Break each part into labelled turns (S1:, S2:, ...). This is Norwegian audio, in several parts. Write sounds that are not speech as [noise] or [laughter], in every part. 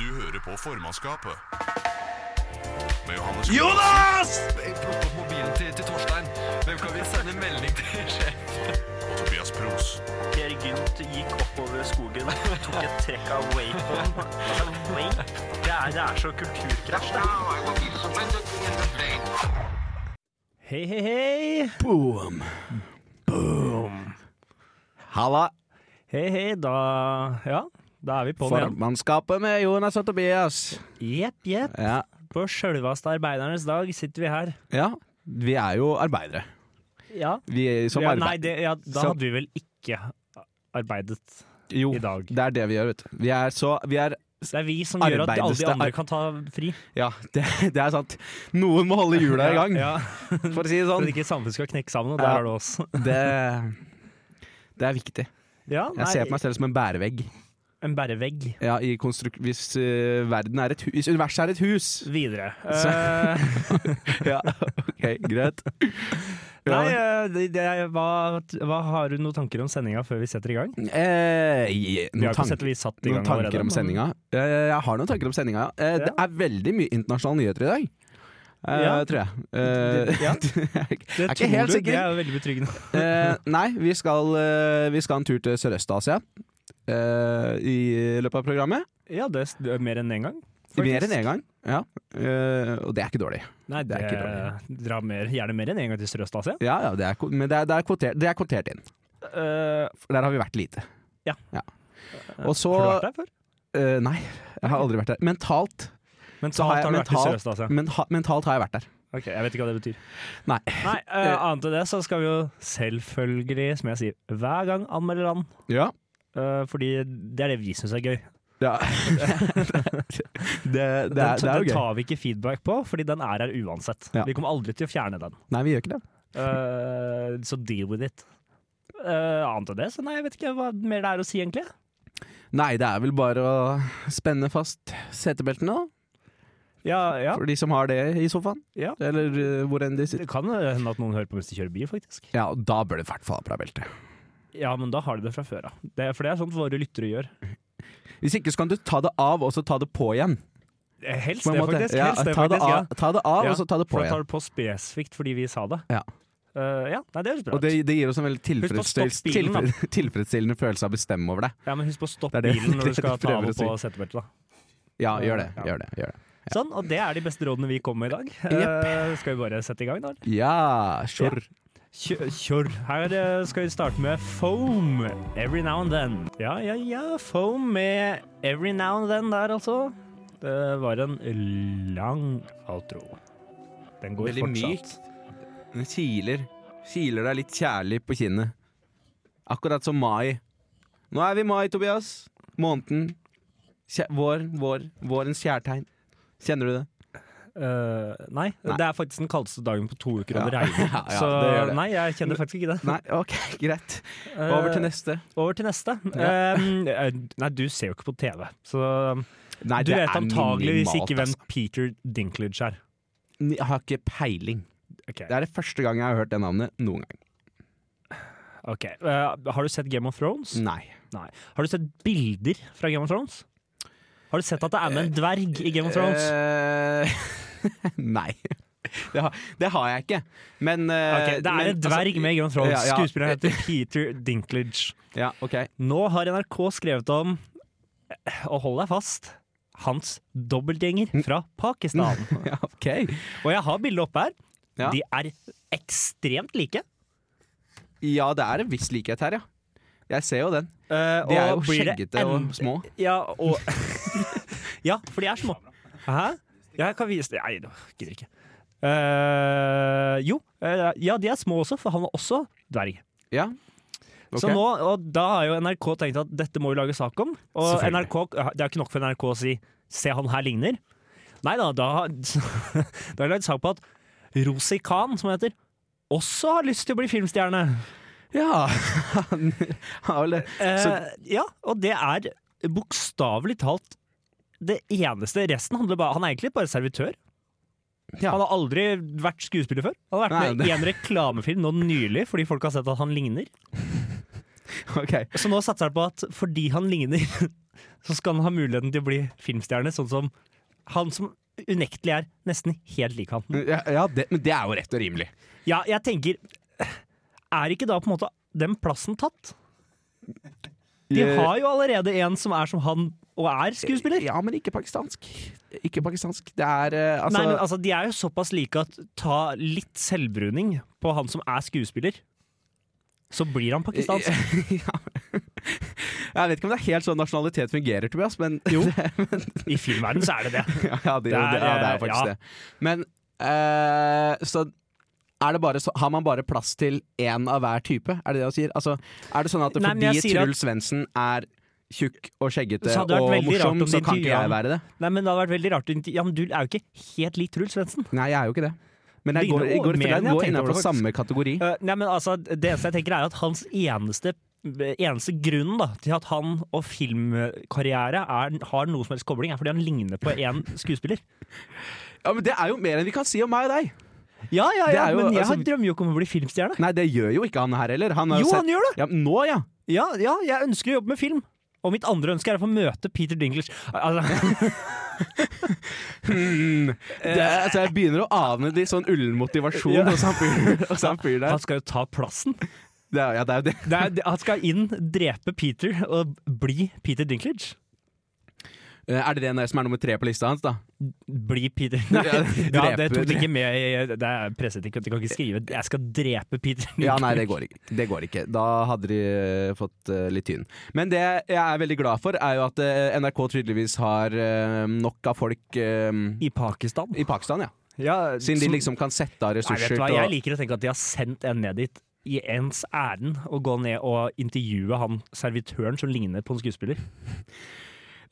S1: Du hører på formannskapet. Med Johannes
S2: Jonas!
S3: Plukk opp mobilen til, til Torstein. Hvem kan vi sende melding til? sjef?
S1: og Tobias Pros.
S4: Per Gynt gikk oppover skogen, tok et trekk av wapen. Altså, vape? Det er, det er så kulturkrasj, det.
S5: Hei, hei, hei.
S2: Halla.
S5: Hei, hei, da Ja, da er vi på den igjen.
S2: Formannskapet med Jonas og Tobias.
S5: Jepp, jepp.
S2: Ja.
S5: På sjølveste arbeidernes dag sitter vi her.
S2: ja. Vi er jo arbeidere.
S5: Ja.
S2: Vi er som
S5: ja, nei,
S2: arbeid...
S5: det, ja, da
S2: som-
S5: hadde vi vel ikke arbeidet.
S2: Jo,
S5: i dag.
S2: det er det vi gjør, vet du. Vi er så Vi er
S5: Det er vi som gjør at alle
S2: Arbeides
S5: de
S2: det
S5: andre
S2: ar-
S5: kan ta fri.
S2: Ja, [laughs] det, det er sant. Noen må holde hjula i gang,
S5: Ja,
S2: for å si det
S5: For
S2: sånn.
S5: at ikke samfunnet skal knekke sammen, og der
S2: Ja.
S5: er det oss.
S2: Det, det er viktig.
S5: Ja,
S2: Jeg ser på meg selv som en bærevegg.
S5: en bærevegg.
S2: Ja, i konstruk... Hvis eh, verden er et hus Hvis universet er et hus!
S5: [laughs] Videre.
S2: [laughs] Så-
S5: Eh,
S2: Ja, OK, greit.
S5: nei, eh, det, det, er- hva, hva har du noen tanker om sendinga før vi setter i gang?
S2: Eh, i-
S5: Vi har
S2: noen
S5: ikke
S2: tanker
S5: sett vi satt i gang
S2: Noen tanker om
S5: men- [laughs]
S2: sendinga? Eh, Jeg har noen tanker om sendinga, ja. Eh, Det
S5: Ja.
S2: er veldig mye internasjonale nyheter i dag. Eh,
S5: Ja.
S2: Tror jeg. Eh, [laughs]
S5: Ja.
S2: jeg
S5: Det
S2: er
S5: tror
S2: ikke helt
S5: du, Det
S2: sikker.
S5: er jo veldig betryggende.
S2: Eh, nei, vi skal, eh, vi skal en tur til Sørøst-Asia eh, i løpet av programmet.
S5: Ja, det er- det er mer enn én gang.
S2: Mer
S5: faktisk.
S2: enn én gang. Ja. Eh, og det er ikke dårlig.
S5: Nei,
S2: Det
S5: det,
S2: er ikke
S5: dra mer, gjerne mer enn en gang til Sørøst-Asia.
S2: Ja, ja, det er, ko- men det er, det, er kvotert, det er kvotert inn. For der har vi vært lite.
S5: Ja.
S2: Eh, Og så
S5: har du vært der før?
S2: eh, Nei, jeg har aldri vært der. Mentalt, så
S5: Mentalt
S2: har
S5: har,
S2: jeg-
S5: du vært i
S2: mentalt-
S5: Sørøst-Asia.
S2: menta- mentalt har jeg vært der.
S5: Ok, Jeg vet ikke hva det betyr.
S2: Nei.
S5: Nei,
S2: [laughs]
S5: eh, Annet enn det så skal vi jo selvfølgelig, som jeg sier, hver gang anmelde land.
S2: Ja.
S5: eh, fordi det er det vi syns er gøy.
S2: Ja. det, det, er, det
S5: den,
S2: er
S5: den
S2: jo gøy.
S5: tar vi ikke feedback på, fordi den er her uansett.
S2: Ja.
S5: Vi kommer aldri til å fjerne den.
S2: Nei, vi gjør ikke det.
S5: Eh, så deal with it. Eh, annet enn det, så nei, jeg vet ikke hva mer det er å si, egentlig.
S2: Nei, det er vel bare å spenne fast setebeltene, da.
S5: Ja, ja.
S2: For de som har det i sofaen.
S5: Ja.
S2: Eller eh, hvor enn de
S5: Det
S2: sitter.
S5: kan hende at noen hører på mens de kjører bil, faktisk.
S2: Ja, og da bør du i hvert fall ha bra belte.
S5: Ja, men da har de det fra før av. Det, for det er sånt våre lyttere gjør.
S2: Hvis ikke så kan du ta det av, og så ta det på igjen.
S5: Helst
S2: på en
S5: det,
S2: måte.
S5: faktisk.
S2: Ja,
S5: Helst det,
S2: ta, det
S5: faktisk ja.
S2: av, ta det av,
S5: Ja,
S2: og så ta det på
S5: For da tar
S2: igjen.
S5: du på spesifikt fordi vi sa det.
S2: Ja.
S5: Eh, ja. Nei, det høres bra
S2: Og det,
S5: ut.
S2: det gir oss en veldig
S5: på å
S2: tilfredsstill,
S5: stoppe bilen, da.
S2: tilfre- [laughs] tilfredsstillende følelse av å bestemme over det.
S5: Ja, men husk på å stoppe
S2: Det er det-
S5: bilen
S2: det er
S5: når
S2: [laughs] det
S5: du skal
S2: jeg
S5: ta av
S2: prøver
S5: og
S2: å si.
S5: på setebeltet. da.
S2: Ja, gjør det.
S5: Ja.
S2: Gjør det, gjør det.
S5: Sånn, og det er de beste rådene vi kommer med i dag. Eh, skal vi bare sette i gang, da? eller?
S2: Ja, sure.
S5: Kjør. kjør. Her eh, skal vi starte med Foam, Every Now and Then. Ja, ja, ja. Foam med Every Now and Then der, altså. Det var en lang outro. Den går
S2: Veldig
S5: fortsatt.
S2: Den kiler. Kiler deg litt kjærlig på kinnet. Akkurat som mai. Nå er vi i mai, Tobias. Måneden. Kjæ vår, vår. Vårens kjærtegn. Kjenner du det?
S5: Eh, nei,
S2: Nei.
S5: det er faktisk den kaldeste dagen på to uker, og det
S2: Ja.
S5: regner.
S2: [laughs] Ja, ja,
S5: så
S2: det gjør det.
S5: nei, jeg kjenner faktisk ikke det.
S2: Nei, ok, [laughs] greit. Over til
S5: Eh,
S2: neste.
S5: Over til neste. Um, eh, nei, du ser jo ikke på TV, så um,
S2: Nei,
S5: du vet antageligvis ikke hvem
S2: ass.
S5: Peter Dinklage er.
S2: Jeg har ikke peiling.
S5: Ok,
S2: Det er det første gang jeg har hørt det navnet noen gang.
S5: ok. Eh, har du sett Game of Thrones?
S2: Nei.
S5: Nei. Har du sett bilder fra Game of Thrones? Har du sett at det er med en dverg i Game of Thrones?
S2: Eh, [laughs] nei. Det har, det har jeg ikke. Men eh,
S5: Ok, det
S2: men,
S5: er en dverg
S2: altså,
S5: med i Game of Thrones.
S2: ja, ja.
S5: Skuespilleren heter Peter Dinklage.
S2: Ja, ok. [laughs]
S5: Nå har NRK skrevet om, eh, og hold deg fast, hans
S2: Mm.
S5: dobbeltgjenger fra Pakistan.
S2: Ja, ok.
S5: Og jeg har bildet oppe her.
S2: Mm. Ja.
S5: De er ekstremt like.
S2: Ja, det er en viss likhet her, ja. Jeg ser jo den.
S5: Eh,
S2: De er jo
S5: og blir det
S2: skjeggete
S5: en-
S2: og små.
S5: Ja, og [laughs] Ja, for de er små. Hæ? Ja, jeg kan vise det. Nei, nå gidder jeg ikke. Eh, jo, eh, ja, de er små også, for han var også dverg.
S2: Ja.
S5: Så nå, og da har jo NRK tenkt at dette må vi lage sak om. Og
S2: Selvfølgelig.
S5: NRK, det er ikke nok for NRK å si 'se han her ligner'. Nei da, da har [laughs] da har de lagd sak på at Rosi Khan, som hun heter, også har lyst til å bli filmstjerne.
S2: Ja, [laughs] han har vel det. Så-
S5: Eh, ja, og det er bokstavelig talt det eneste. Resten handler bare Han er egentlig bare servitør.
S2: Ja.
S5: Han har aldri vært skuespiller før. Han har vært
S2: Nei,
S5: med i en reklamefilm nå nylig fordi folk har sett at han ligner.
S2: Ok.
S5: Så nå satser han på at fordi han ligner, [laughs] så skal han ha muligheten til å bli filmstjerne, sånn som han som unektelig er nesten helt lik han.
S2: Ja, ja det, Men det er jo rett og rimelig.
S5: Ja, jeg tenker Er ikke da på en måte den plassen tatt? De
S2: Eh,
S5: har jo allerede en som er som han, og er skuespiller.
S2: Ja, men ikke pakistansk. Ikke pakistansk. Det er eh, altså,
S5: Nei, men altså, De er jo såpass like at ta litt selvbruning på han som er skuespiller, så blir han pakistansk. [laughs]
S2: ja. Jeg vet ikke om det er helt sånn nasjonalitet fungerer, Tobias, men [laughs]
S5: Jo, i filmverdenen så er [laughs] det det.
S2: ja, det,
S5: Det er,
S2: ja, det er
S5: eh,
S2: faktisk
S5: ja.
S2: det. Men eh, så er det bare, så, har man bare plass til én av hver type? Er det det han sier? Altså, er det sånn at
S5: Nei, men jeg
S2: fordi
S5: sier at-
S2: Truls Svendsen er tjukk og skjeggete
S5: Så hadde det vært
S2: og
S5: veldig rart
S2: morsom,
S5: om
S2: så
S5: de
S2: kan ikke
S5: intervjuet
S2: jeg være det?
S5: Nei, men det hadde vært veldig rart å intervju- Ja, men Du er jo ikke helt lik Truls Svendsen.
S2: Nei, jeg er jo ikke det. Men jeg
S5: Ligner
S2: går, jeg
S5: over
S2: går,
S5: mer
S2: jeg
S5: enn jeg
S2: går
S5: tenkte over,
S2: innenfor
S5: faktisk.
S2: samme kategori.
S5: Eh, nei, men altså, Det eneste jeg tenker, er at hans eneste Eneste grunnen da, til at han og filmkarriere er, har noe som helst kobling, er fordi han ligner på en [laughs] skuespiller.
S2: Ja, men Det er jo mer enn vi kan si om meg og deg!
S5: Ja, ja,
S2: Det
S5: ja,
S2: er jo-
S5: men jeg
S2: altså-
S5: drømmer jo ikke om å bli filmstjerne.
S2: Nei, det gjør jo ikke han her heller. Han har
S5: Jo,
S2: jo
S5: han
S2: sett
S5: gjør det!
S2: ja, men Nå, ja!
S5: Ja, ja, jeg ønsker å jobbe med film. Og mitt andre ønske er å få møte Peter Dinklage. [laughs] Altså,
S2: Det, er- altså, jeg begynner å ane de sånn ullen motivasjon
S5: Ja.
S2: hos han fyren- hos han fyren der.
S5: han skal jo ta plassen.
S2: Det er- Ja, det er jo det.
S5: [laughs] Det er, det- han skal inn, drepe Peter og bli Peter Dinklage.
S2: Eh, Er det det som er nummer tre på lista hans, da?
S5: Bli Peter Nei,
S2: Ja,
S5: ja, det
S2: drepe-
S5: tok de ikke med. i- Det er presset ikke, de kan ikke skrive 'jeg skal drepe Peter Dinklage'.
S2: [laughs] Ja, nei, det går ikke. Det går ikke. Da hadde de eh, fått eh, litt tynn. Men det jeg er veldig glad for, er jo at eh, NRK tydeligvis har eh, nok av folk eh,
S5: I Pakistan.
S2: i Pakistan, ja.
S5: Ja,
S2: Siden de
S5: som-
S2: liksom kan sette av
S5: Nei, vet
S2: ressurser
S5: du hva?
S2: til
S5: Jeg
S2: å-
S5: liker å tenke at de har sendt en ned dit i ens ærend å gå ned og intervjue han servitøren som ligner på en skuespiller.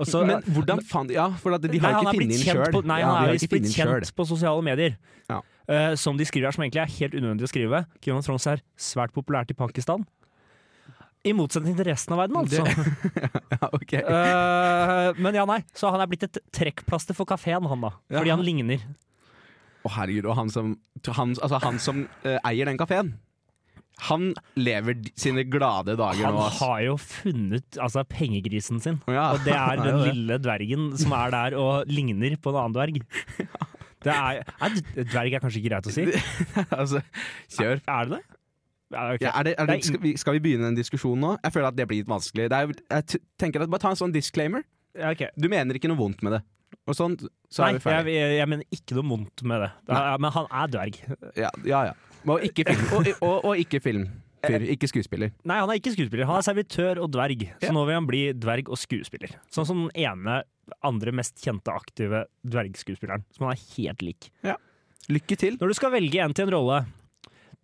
S5: Og så-
S2: Men hvordan faen Ja, for at de
S5: Nei,
S2: har
S5: han
S2: ikke
S5: er blitt
S2: funnet inn
S5: kjent
S2: sjøl.
S5: på- Nei,
S2: Ja, de
S5: han
S2: har
S5: er
S2: ikke
S5: visst blitt
S2: funnet inn
S5: kjent
S2: selv. [laughs]
S5: på sosiale medier.
S2: Ja.
S5: Eh, som de skriver her, som egentlig er helt unødvendig å skrive. Game of Thrones er svært populært i Pakistan. I motsetning til resten av verden, altså.
S2: Ja,
S5: [laughs]
S2: ok.
S5: Eh, men ja, nei. Så han er blitt et trekkplaster for kafeen, han da. Fordi
S2: Ja.
S5: han ligner.
S2: Å herregud, og han som, han, altså, han som eh, eier den kafeen, han lever d- sine glade dager
S5: Han
S2: nå. ass.
S5: har jo funnet altså, pengegrisen sin.
S2: [laughs] Ja,
S5: Og det
S2: han
S5: er
S2: har
S5: den
S2: jo det.
S5: lille dvergen som er der og ligner på en annen
S2: [laughs]
S5: dverg. Det er, er, dverg er kanskje ikke greit å si.
S2: altså, kjør.
S5: Er det det? Ja, ok.
S2: Ja, er det, er det,
S5: Det er
S2: skal, vi, skal vi begynne en diskusjon nå? Jeg føler at det blir litt vanskelig. Det er, jo- jeg t- tenker at Bare ta en sånn disclaimer.
S5: Ja, ok.
S2: Du mener ikke noe vondt med det. Og sånn, så
S5: Nei,
S2: er vi ferdige.
S5: Jeg, jeg, jeg mener ikke noe vondt med det. Da, men han er dverg.
S2: Ja, ja. ja. Og ikke film. [laughs] Og, og, og ikke film. Fyr, ikke skuespiller.
S5: Nei, han er ikke skuespiller. Han er servitør og dverg. Så
S2: Ja.
S5: nå vil han bli dverg og skuespiller. Sånn som den ene andre mest kjente aktive dvergskuespilleren, som han er helt lik.
S2: Lykke til.
S5: Når du skal velge en til en rolle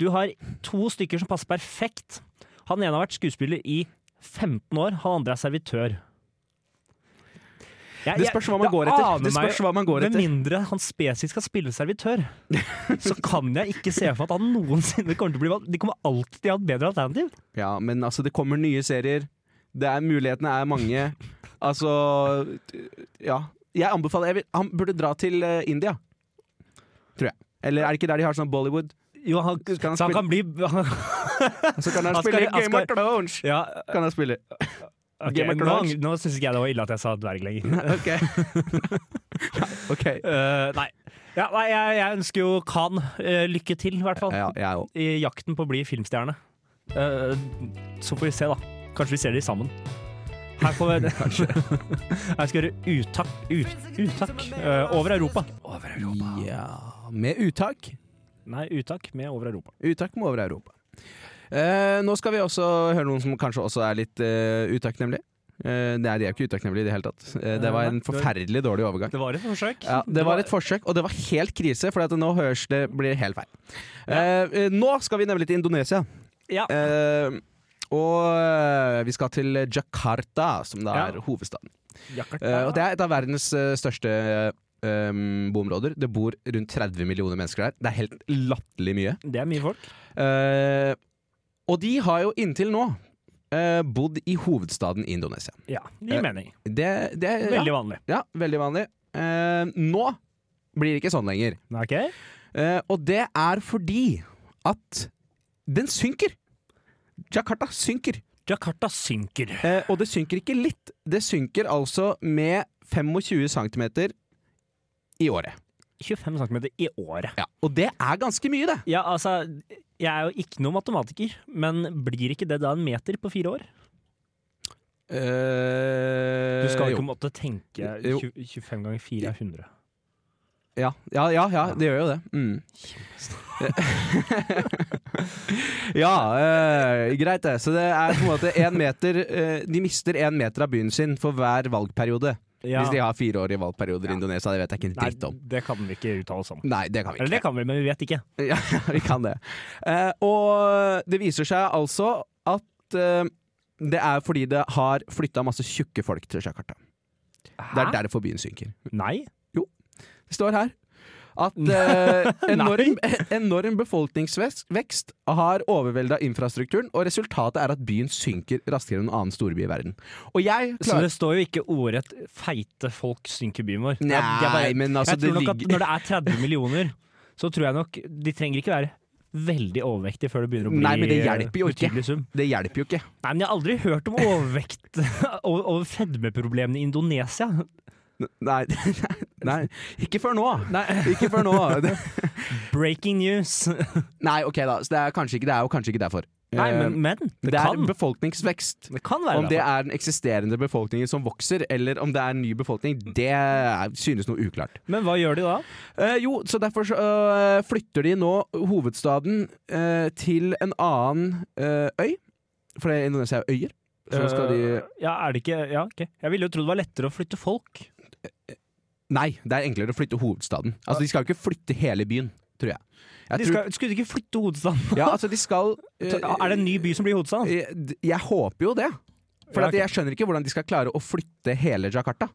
S5: Du har to stykker som passer perfekt. Han ene har vært skuespiller i 15 år, han andre er servitør. Jeg-
S2: Det
S5: jeg-
S2: spørs hva man går
S5: aner
S2: etter. Det
S5: meg-
S2: spørs hva man går
S5: Med
S2: etter.
S5: mindre han spesifikt skal spille servitør, så kan jeg ikke se for meg at han noensinne kommer til å bli valgt. De kommer alltid til å ha et bedre alternativ.
S2: Ja, men altså, det kommer nye serier. Det er, mulighetene er mange. Altså Ja. Jeg anbefaler jeg vil, Han burde dra til eh, India. Tror jeg. Eller er det ikke der de har sånn Bollywood?
S5: Jo, han,
S2: Så kan han
S5: så han kan bli [laughs] han,
S2: Så kan han
S5: Han skal-
S2: spille
S5: han
S2: Game of Thrones!
S5: ja,
S2: Kan han spille.
S5: ok,
S2: Game of
S5: Nå,
S2: Thrones.
S5: nå syns ikke jeg det var ille at jeg sa dverg lenger.
S2: [laughs] Ok. ok.
S5: Eh, nei. Ja, nei jeg, jeg ønsker jo Khan eh, lykke til, i hvert fall.
S2: Ja, jeg òg.
S5: I jakten på å bli filmstjerne. Eh, så får vi se, da. Kanskje vi ser de sammen. Her får
S2: [laughs]
S5: vi Kanskje. Her skal vi gjøre uttak, ut, uttak eh, over Europa. Over Europa.
S2: Ja, med uttak.
S5: Nei, uttak med over Europa.
S2: Uttak må over Europa. Eh, nå skal vi også høre noen som kanskje også er litt eh, utakknemlige. Eh, nei, de er jo ikke utakknemlige i det hele tatt. Eh, det var en forferdelig dårlig overgang.
S5: Det var et forsøk.
S2: Ja, det var et forsøk, og det var helt krise, for at nå høres det blir helt feil. Eh, eh, nå skal vi nemlig til Indonesia.
S5: Ja.
S2: Eh, og eh, vi skal til Jakarta, som da
S5: Ja.
S2: er hovedstaden.
S5: Jakarta.
S2: Eh, og det er et av verdens eh, største eh, boområder. Det bor rundt 30 millioner mennesker der. Det er helt latterlig mye.
S5: Det er mye folk.
S2: Eh, og de har jo inntil nå eh, bodd i hovedstaden i Indonesia.
S5: Ja, det gir
S2: Eh,
S5: mening.
S2: Det, det er
S5: Veldig vanlig.
S2: Ja, ja, veldig vanlig. Eh, nå blir det ikke sånn lenger.
S5: Ok.
S2: Eh, og det er fordi at den synker. Jakarta synker.
S5: Jakarta synker.
S2: Eh, og det synker ikke litt. Det synker altså med 25 cm i året.
S5: 25 cm i året.
S2: Ja, og det er ganske mye, det.
S5: Ja, altså, jeg er jo ikke noen matematiker, men blir ikke det da en meter på fire år?
S2: Eh,
S5: Du skal
S2: jo.
S5: ikke måtte tenke
S2: Jo.
S5: 20, 25 ganger 4 er 100.
S2: Ja, ja, ja, ja det gjør jo det. Mm. [laughs] ja, eh, greit det. Så det er på en måte en meter eh, De mister én meter av byen sin for hver valgperiode.
S5: Ja.
S2: Hvis de har fireårige valgperioder i Indonesia, det vet jeg ikke en
S5: Nei,
S2: dritt om.
S5: det kan vi ikke uttale oss om.
S2: Nei, det kan vi
S5: Eller det
S2: ikke.
S5: kan vi, men vi vet ikke.
S2: Ja, [laughs] vi kan det. Eh, og det viser seg altså at eh, det er fordi det har flytta masse tjukke folk til Jakarta. Det er derfor byen synker.
S5: Nei?
S2: Det står her
S5: [laughs]
S2: at eh, enorm, [laughs] enorm befolkningsvekst har overvelda infrastrukturen, og resultatet er at byen synker raskere enn en annen storby i verden. Og jeg
S5: Så
S2: klarer
S5: det står jo ikke ordrett 'feite folk synker byen vår'. Det er- det er
S2: Nei, men altså,
S5: jeg tror
S2: det
S5: nok at når
S2: ligger-
S5: det er 30 millioner, så tror jeg nok De trenger ikke være veldig overvektige før det begynner å bli
S2: Nei, men det hjelper jo ikke.
S5: betydelig sum.
S2: Det hjelper jo ikke.
S5: Nei, men jeg har aldri hørt om overvekt [laughs] og, og fedmeproblemene i Indonesia.
S2: Nei, [laughs] nei. Ikke før nå.
S5: Nei,
S2: [laughs] Ikke før nå.
S5: [laughs]
S2: Det-
S5: breaking news!
S2: Nei, ok da. Så det er, kanskje ikke, det er jo kanskje ikke derfor.
S5: Nei,
S2: Eh,
S5: men, men det,
S2: det, er
S5: kan.
S2: befolkningsvekst.
S5: Det kan være
S2: Om det er den eksisterende befolkningen som vokser, eller om det er en ny befolkning, det er- synes noe uklart.
S5: Men hva gjør de da?
S2: Eh, jo, så derfor så, eh, flytter de nå hovedstaden eh, til en annen eh, øy. For det- Indonesia er jo øyer. Så nå skal de
S5: Eh, Ja, er det ikke Ja, ok. Jeg ville jo trodd det var lettere å flytte folk.
S2: Nei, det er enklere å flytte hovedstaden. Altså, De skal jo ikke flytte hele byen, tror jeg. jeg
S5: De
S2: tror,
S5: skal, skulle de ikke flytte hovedstaden? [laughs]
S2: Ja, altså, de skal eh,
S5: Er det en ny by som blir hovedstaden?
S2: eh, d- Jeg håper jo det. For
S5: Ja,
S2: at
S5: ok.
S2: jeg skjønner ikke hvordan de skal klare å flytte hele Jakarta.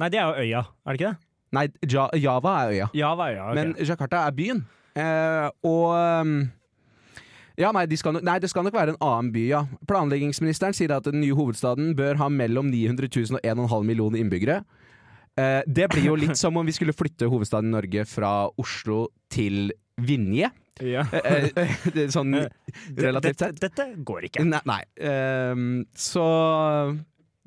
S5: Nei, det er jo øya, er det ikke det?
S2: Nei, ja, Java er øya,
S5: Java er øya. ok.
S2: men Jakarta er byen. Eh, og ehm, ja, nei, de skal nok, nei, det skal nok være en annen by, ja. Planleggingsministeren sier at den nye hovedstaden bør ha mellom 900 000 og 1,5 millioner innbyggere. Eh, det blir jo
S5: [laughs]
S2: litt som om vi skulle flytte hovedstaden i Norge fra Oslo til Vinje.
S5: ja. [laughs]
S2: Eh, eh, det er sånn [laughs] relativt
S5: dette,
S2: sett.
S5: dette går ikke.
S2: Nei. nei. Ehm, så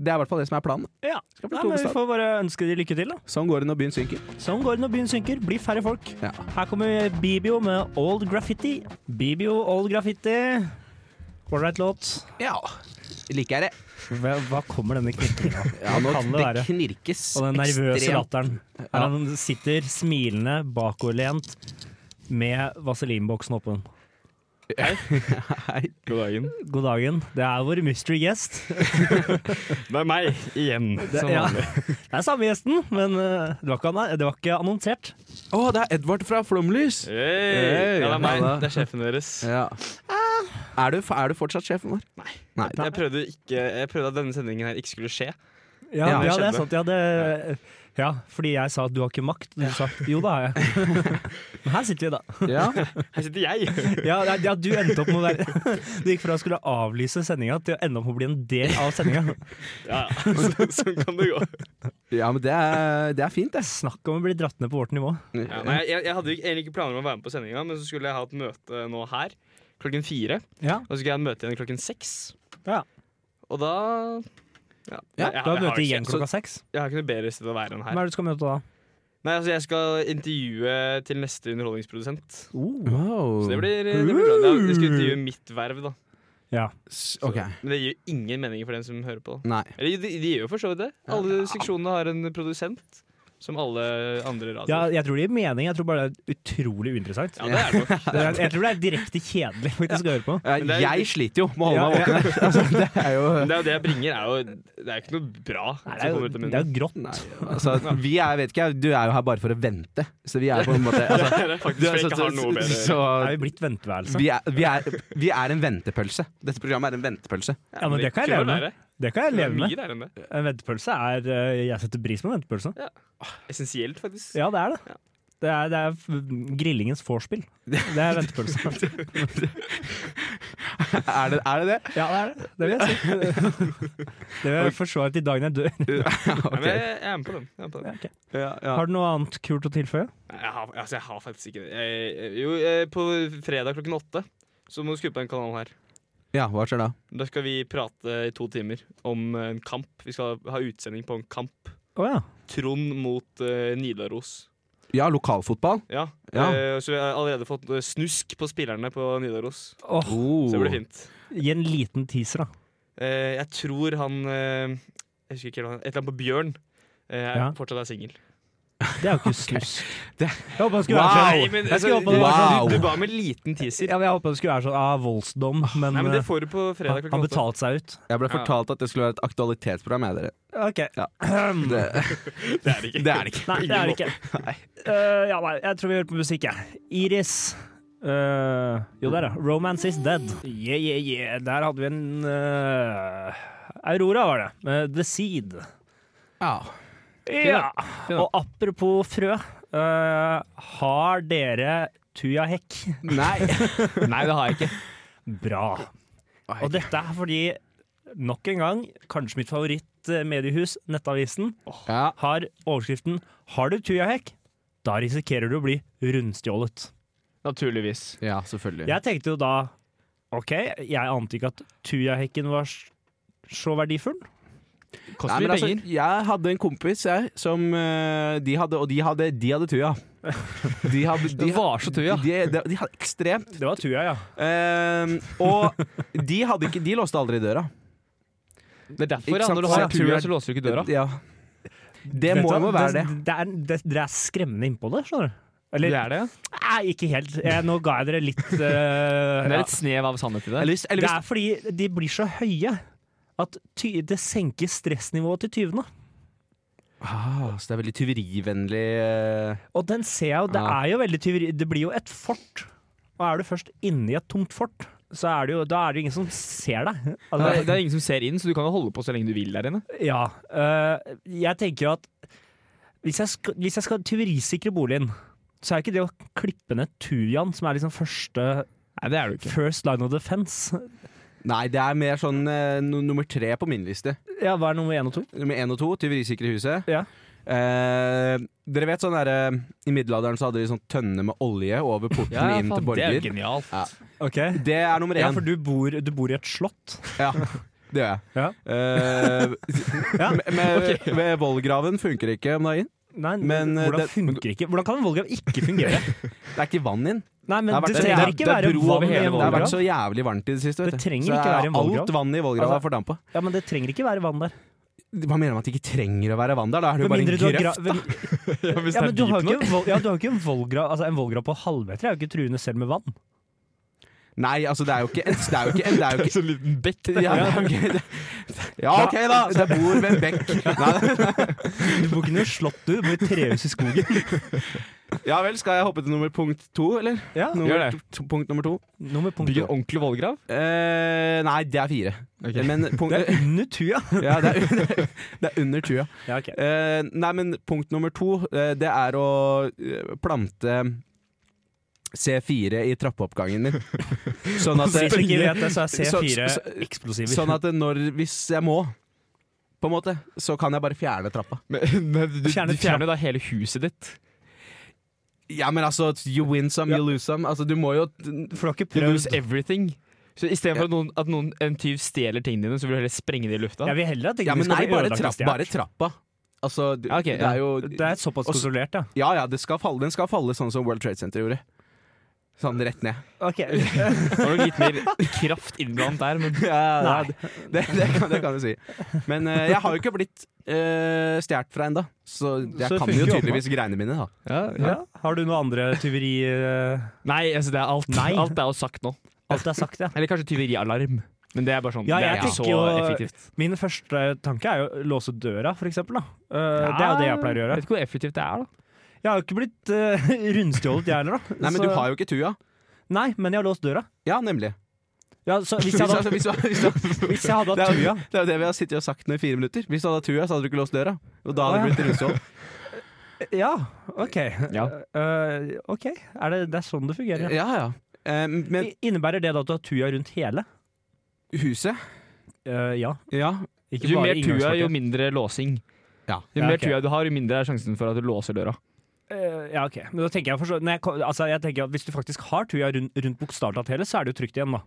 S2: det er i hvert fall det som er planen.
S5: Ja.
S2: Skal bli
S5: Nei, men vi
S2: hovedstad.
S5: får bare ønske de lykke til, da.
S2: Sånn går det når byen synker.
S5: Sånn går det når byen synker. Blir færre folk.
S2: Ja.
S5: Her kommer Bibio med Old Graffiti. Bibio Old Graffiti. Ålreit låt.
S2: ja. Liker jeg det.
S5: Hva, hva kommer denne
S2: [laughs]
S5: knirkingen av?
S2: Ja, nå
S5: Hva kan det
S2: det,
S5: være?
S2: knirkes
S5: Og den nervøse
S2: ekstremt.
S6: [laughs]
S5: latteren.
S2: Ja.
S5: Her han sitter smilende, bakoverlent, med vaselinboksen åpen.
S2: Hei.
S6: God dagen.
S5: God dagen. Det er vår mystery guest.
S6: Det er meg igjen. som
S5: ja.
S6: vanlig.
S5: [laughs] Det er samme gjesten, men eh, det var ikke, anna- det var ikke annonsert.
S2: Å, det er Edvard fra Flomlys!
S6: Hey.
S2: Hey,
S6: ja, det er meg.
S2: halla.
S6: Det er sjefen deres.
S2: Ja. Ah. Er, du, er du fortsatt sjefen vår? Nei. Nei.
S6: Jeg prøvde, ikke, jeg prøvde at denne sendingen her ikke skulle skje.
S5: Ja,
S2: Ja,
S5: ja,
S6: jeg
S5: det
S6: skjønner.
S5: er sant. Ja, det, ja, fordi jeg sa at du har ikke makt. Du sa jo, det har jeg. [laughs] Men her sitter vi, da.
S2: Ja.
S6: Her sitter jeg.
S5: Ja, nei, ja du endte opp med å være [laughs] Du gikk fra å skulle avlyse sendinga til å ende opp med å bli en del av sendinga.
S6: [laughs] Ja, ja. Så, sånn kan det gå.
S2: ja, men det er, det er fint, det.
S5: Snakk om å bli dratt ned på vårt nivå.
S6: Ja, nei, jeg, jeg hadde jo ikke- egentlig ikke planer om å være med på sendinga, men så skulle jeg ha et møte nå her klokken fire.
S5: Ja.
S6: Og så skulle jeg ha et møte igjen klokken seks.
S5: Ja.
S6: Og da ja.
S2: Ja,
S6: Nei, jeg,
S5: Du har
S6: jeg
S5: møte
S6: ikke-
S5: igjen klokka seks.
S6: Jeg har ikke noe bedre sted å være enn
S5: Hvem
S6: her.
S5: er det du skal møte da?
S6: Nei, altså Jeg skal intervjue til neste underholdningsprodusent.
S5: Oh.
S2: Wow.
S6: Så det blir, det blir bra. Ja, Jeg skal intervjue mitt verv, da.
S5: Ja.
S2: S- Ok.
S6: Men det gir jo ingen mening for den som hører på. da
S2: Nei.
S6: Eller de, de gjør jo for så vidt det. Alle seksjonene har en produsent, som alle
S5: ja,
S6: andre radioer.
S5: jeg tror det gir mening. Jeg tror bare det er utrolig uinteressant.
S6: Ja, det er det nok.
S5: Det er- Jeg tror det er direkte kjedelig faktisk å høre på.
S2: Eh,
S6: Men det er-
S2: Jeg sliter jo med å holde
S5: Ja,
S2: meg våken. her. Altså, det er jo
S6: Men det er jo det jeg bringer, er jo Det er jo ikke noe bra
S5: Nei, det,
S6: som
S5: er jo,
S6: kommer ut av
S5: det er
S6: munnen.
S5: jo grått.
S2: Nei, altså, vi er, vet ikke, du er jo her bare for å vente, så vi er på en måte
S6: [laughs]
S2: altså,
S6: Det er faktisk
S2: du er
S6: for jeg
S2: så-
S6: ikke har noe bedre.
S2: så,
S5: Er vi blitt venteværelse?
S2: vi, er, vi, er, vi er en ventepølse. Dette programmet er en ventepølse. [laughs]
S5: Ja, men det kan jeg
S6: kunne
S5: leve med.
S6: være.
S5: Det kan jeg
S6: Det er
S5: leve
S6: mye
S5: med.
S6: der enn det.
S5: En ventepølse er eh, Jeg setter pris på en ventepølse.
S6: Essensielt, faktisk.
S5: Ja, det er det. Det er, det er f- mm, grillingens vorspiel. Det er
S2: [laughs]
S5: ventepølse.
S2: Er det er det? det?
S5: Ja, det er det. Det vil
S2: [laughs]
S5: jeg si. Det vil jeg forsvare til dagen jeg dør.
S6: Nei, men jeg, jeg er med på den. Jeg er med på den.
S5: Ok.
S2: Ja, ja.
S5: Har du noe annet kult å tilføye?
S6: Jeg, har, altså, jeg har faktisk ikke det. Jeg, jo, eh, på fredag klokken åtte så må du skru på den kanalen her.
S2: Ja, hva skjer da?
S6: Da skal vi prate i to timer om eh, en kamp. Vi skal ha utsending på en kamp.
S5: Å ja.
S6: Trond mot eh, Nidaros.
S2: Ja, lokalfotball.
S6: Ja.
S2: Ja.
S6: eh, så vi har allerede fått eh, snusk på spillerne på Nidaros.
S5: Åh,
S6: Så
S2: Oh.
S6: det
S5: Oh.
S6: blir fint.
S5: gi en liten teaser, da.
S6: Eh, jeg tror han eh, Jeg husker ikke helt hva han Et eller annet på Bjørn. eh,
S5: Ja.
S6: Fortsatt er singel.
S5: Det er jo ikke snusk.
S2: [laughs] Det-
S5: Jeg håper det skulle
S2: Wow.
S5: være
S6: Nei,
S5: sånn.
S6: men
S5: Jeg skulle
S6: altså,
S5: håpe det var
S2: Wow.
S5: sånn.
S6: Du, du ba om en liten teaser.
S5: Ja, men jeg håpet det skulle være sånn ah, voldsdom, men,
S6: Nei, men Det
S5: eh,
S6: får du på fredag
S5: han, han
S6: klokken åtte.
S5: betalte seg ut.
S2: Jeg ble
S6: Ja.
S2: fortalt at det skulle være et aktualitetsprogram. Jeg, dere.
S5: Ok. [clears throat]
S2: Ja.
S5: Nei,
S2: Det,
S6: [laughs] Det er det ikke.
S2: [laughs] det er det ikke.
S5: det er det ikke. Eh, ja, nei, jeg tror vi hører på musikk, jeg. Iris. Eh, jo, der, ja. 'Romance Is Dead'. Yeah, yeah, yeah. Der hadde vi en eh, Aurora, var det. Eh, 'The Seed'.
S2: [laughs] Ja.
S5: Ja.
S2: Fin, da.
S5: Og apropos frø. eh, har dere tujahekk?
S6: [laughs]
S2: Nei. Nei, det har jeg ikke.
S5: Bra. Og dette er fordi, nok en gang, kanskje mitt favorittmediehus, Nettavisen,
S2: Ja.
S5: har overskriften 'Har du tujahekk?' Da risikerer du å bli rundstjålet.
S6: Naturligvis.
S2: ja, selvfølgelig.
S5: Jeg tenkte jo da OK, jeg ante ikke at tujahekken var s- så verdifull.
S2: Nei,
S6: Koster
S2: men
S6: mye
S2: altså,
S6: penger.
S2: jeg hadde en kompis jeg, som eh, de hadde, Og de hadde, de hadde tuja. De hadde, de,
S6: [laughs] Det var så tuja.
S2: De, de, de hadde ekstremt.
S5: Det var tuja, ja.
S2: Eh, og de hadde ikke De låste aldri døra.
S6: Det er derfor
S2: Ikke
S6: ja,
S2: sant?
S6: når du
S2: Så
S6: har
S2: jeg tror
S6: tuja,
S2: jeg-
S6: så låser du ikke døra.
S2: Ja. Det
S5: Vet
S2: må
S5: du hva?
S2: jo være det.
S5: Det, er, det, dere er skremmende innpå det, skjønner du. Eller
S6: Det er det.
S5: Nei, ikke helt. Jeg, nå ga jeg dere litt
S2: [laughs]
S5: eh,
S6: Det
S5: ja.
S6: er et snev av sannhet i det.
S2: Eller hvis, eller
S5: Det
S2: hvis,
S5: er fordi de blir så høye at ty det senker stressnivået til tyvene.
S2: ah, så det er veldig tyverivennlig eh,
S5: Og den ser jeg jo, det
S2: Ja.
S5: er jo veldig tyveri. Det blir jo et fort. Og er du først inni et tomt fort, så er det jo, da er det jo ingen som ser deg.
S6: Det
S5: Altså,
S6: er, det er ingen som ser inn, så du kan jo holde på så lenge du vil der inne.
S5: ja. øh, jeg tenker jo at hvis jeg skal, hvis jeg skal tyverisikre boligen, så er ikke det å klippe ned tujaen som er liksom første
S6: Nei, det er du
S5: First line of defense.
S2: Nei, det er mer sånn eh, nu- nummer tre på min liste.
S5: Ja, hva er nummer én og to?
S2: Nummer én og to, tyverisikre huset.
S5: Ja.
S2: Eh, dere vet sånn derre I middelalderen så hadde de sånn tønne med olje over porten inn til
S6: det er
S2: borger.
S6: jo genialt.
S2: Ja.
S5: Ok
S2: Det er nummer én.
S5: Ja, for du bor, du bor i et slott.
S2: Ja, det gjør jeg.
S5: Ja.
S2: Eh,
S5: [laughs] Ja,
S2: med, med, med vollgraven funker ikke om dagen.
S5: Nei,
S2: Men, eh,
S5: hvordan
S2: det-
S5: funker ikke? Hvordan kan en vollgrav ikke fungere?
S2: [laughs] Det er ikke vann inn.
S5: Nei, men det,
S2: Det har vært- det-
S5: trenger
S2: det-
S5: ikke
S6: det er
S5: være
S6: bro over
S5: vann i
S6: hele
S5: en
S2: Det har vært
S5: vollgrav.
S2: så jævlig varmt i det siste. vet
S5: Det
S2: du.
S5: trenger
S2: så
S5: ikke være en vollgrav.
S2: alt vann i vollgrava
S5: Altså-
S2: er fordampa.
S5: Ja, men det trenger ikke være vann der.
S2: Hva mener du med at det ikke trenger å være vann der? Da er det jo
S5: Med
S2: bare en
S5: mindre du har
S2: grøft.
S5: gra-
S2: [laughs]
S5: Ja, men du har jo ikke, en voll- ja, du har jo ikke en vollgrav Altså, en vollgrav på halvmeter er jo ikke truende selv med vann.
S2: Nei, altså, det er jo ikke en det er jo ikke, en- [laughs] det er jo ikke
S6: en liten bekk.
S2: ja, [laughs] det er jo ikke- det- ja, OK, da! Så jeg bor ved en bekk. [laughs] Nei,
S5: Du bor ikke i noe slott, du. Du bor i et trehus i skogen.
S2: ja vel, skal jeg hoppe til nummer punkt to, eller?
S5: Ja,
S2: Nummer, to, punkt nummer to.
S5: Nummer punkt
S6: Bygg en
S5: to.
S6: ordentlig vollgrav.
S2: Eh, nei, det er fire. Men [laughs] punkt,
S5: Det er under tua.
S2: ja, det, er, det er under [laughs] tua.
S5: Ja, ok.
S2: Eh, nei, men punkt nummer to, eh, det er å eh, plante C4 i trappeoppgangen [laughs] min. Sånn at,
S5: Hvis du ikke
S2: det,
S5: vet det, så er
S2: Så-
S5: C4
S2: så- så-
S5: eksplosiver.
S2: sånn at det når, hvis jeg må, på en måte, så kan jeg bare fjerne trappa.
S6: Men, men du, du
S5: Fjernet
S6: fjerner da hele huset ditt.
S2: Ja, men altså, you win some, you lose some. Altså, du må jo
S5: For du har ikke
S6: You lose
S5: prøvd
S6: everything. Så Istedenfor at, noen, at noen, en tyv stjeler tingene dine, så vil du heller sprenge det i lufta.
S5: Jeg vil heller at det
S2: Ja,
S5: ikke
S2: men
S5: skal
S2: nei,
S5: bli
S2: bare,
S5: ødelagt.
S2: trapp,
S5: hvis det er-
S2: bare trappa. Altså, du-
S6: Ja, ok,
S2: det
S6: ja.
S2: er jo
S5: Det er såpass
S2: Også-
S5: kontrollert, ja.
S2: Ja ja, det skal falle, den skal falle sånn som World Trade Center gjorde. Sånn rett ned. [laughs]
S5: [laughs] Ok,
S6: Det var nok litt mer kraft innblandet der, men
S2: Ja, ja, det, det, kan, det kan du si. Men eh, jeg har jo ikke blitt uh, stjålet fra ennå, så jeg
S5: Så det
S2: kan
S5: funker
S2: jo
S5: jo
S2: tydeligvis greiene mine. da
S5: ja. Har du noe andre tyveri... eh,
S6: Nei, altså det er alt.
S5: Nei.
S6: Alt er jo sagt nå.
S5: Alt er sagt, ja.
S6: Eller kanskje tyverialarm. Men det er bare sånn.
S5: Ja,
S6: det er
S5: jeg
S6: ikke så
S5: tenker jo-
S6: effektivt.
S5: Min første tanke er jo å låse døra, for eksempel. Da. Eh, det er jo det jeg pleier å gjøre.
S6: Jeg vet ikke hvor effektivt det er, da.
S5: Jeg har jo ikke blitt eh, [laughs] rundstjålet, jeg heller. da.
S2: Nei, men
S5: Så-
S2: du har jo ikke tua.
S5: Nei, men jeg har låst døra.
S2: Ja, nemlig.
S5: Ja, så hvis
S2: Hvis,
S5: jeg
S2: altså,
S5: hadde,
S2: [laughs] hvis, hvis, hvis,
S5: hvis jeg hadde
S2: det,
S5: hatt
S2: er,
S5: tua
S2: jo- det er jo det vi har sittet og sagt nå i fire minutter. Hvis du hadde hatt tua, så hadde du ikke låst døra. Og da
S5: Å,
S2: hadde du
S5: ja.
S2: blitt rundstål.
S5: Ja, OK.
S6: Ja.
S5: Eh, ok, er det, det er sånn det fungerer. ja.
S2: Ja, ja. Eh, men
S5: I- Innebærer det da at du har tua rundt hele?
S2: huset
S5: Eh, ja.
S2: Ja.
S5: Ikke
S6: Jo
S5: bare
S6: mer tua, jo
S5: inngangspartiet.
S6: mindre låsing.
S2: Ja.
S6: Jo
S5: Ja,
S6: mer
S5: ok.
S6: tua du har, jo mindre er sjansen for at du låser døra.
S5: Eh, ja, OK. Men da tenker jeg, for så, når jeg, kom- altså, jeg tenker at hvis du faktisk har tua rundt, rundt bokstavelig talt hele, så er det jo trygt igjen, da.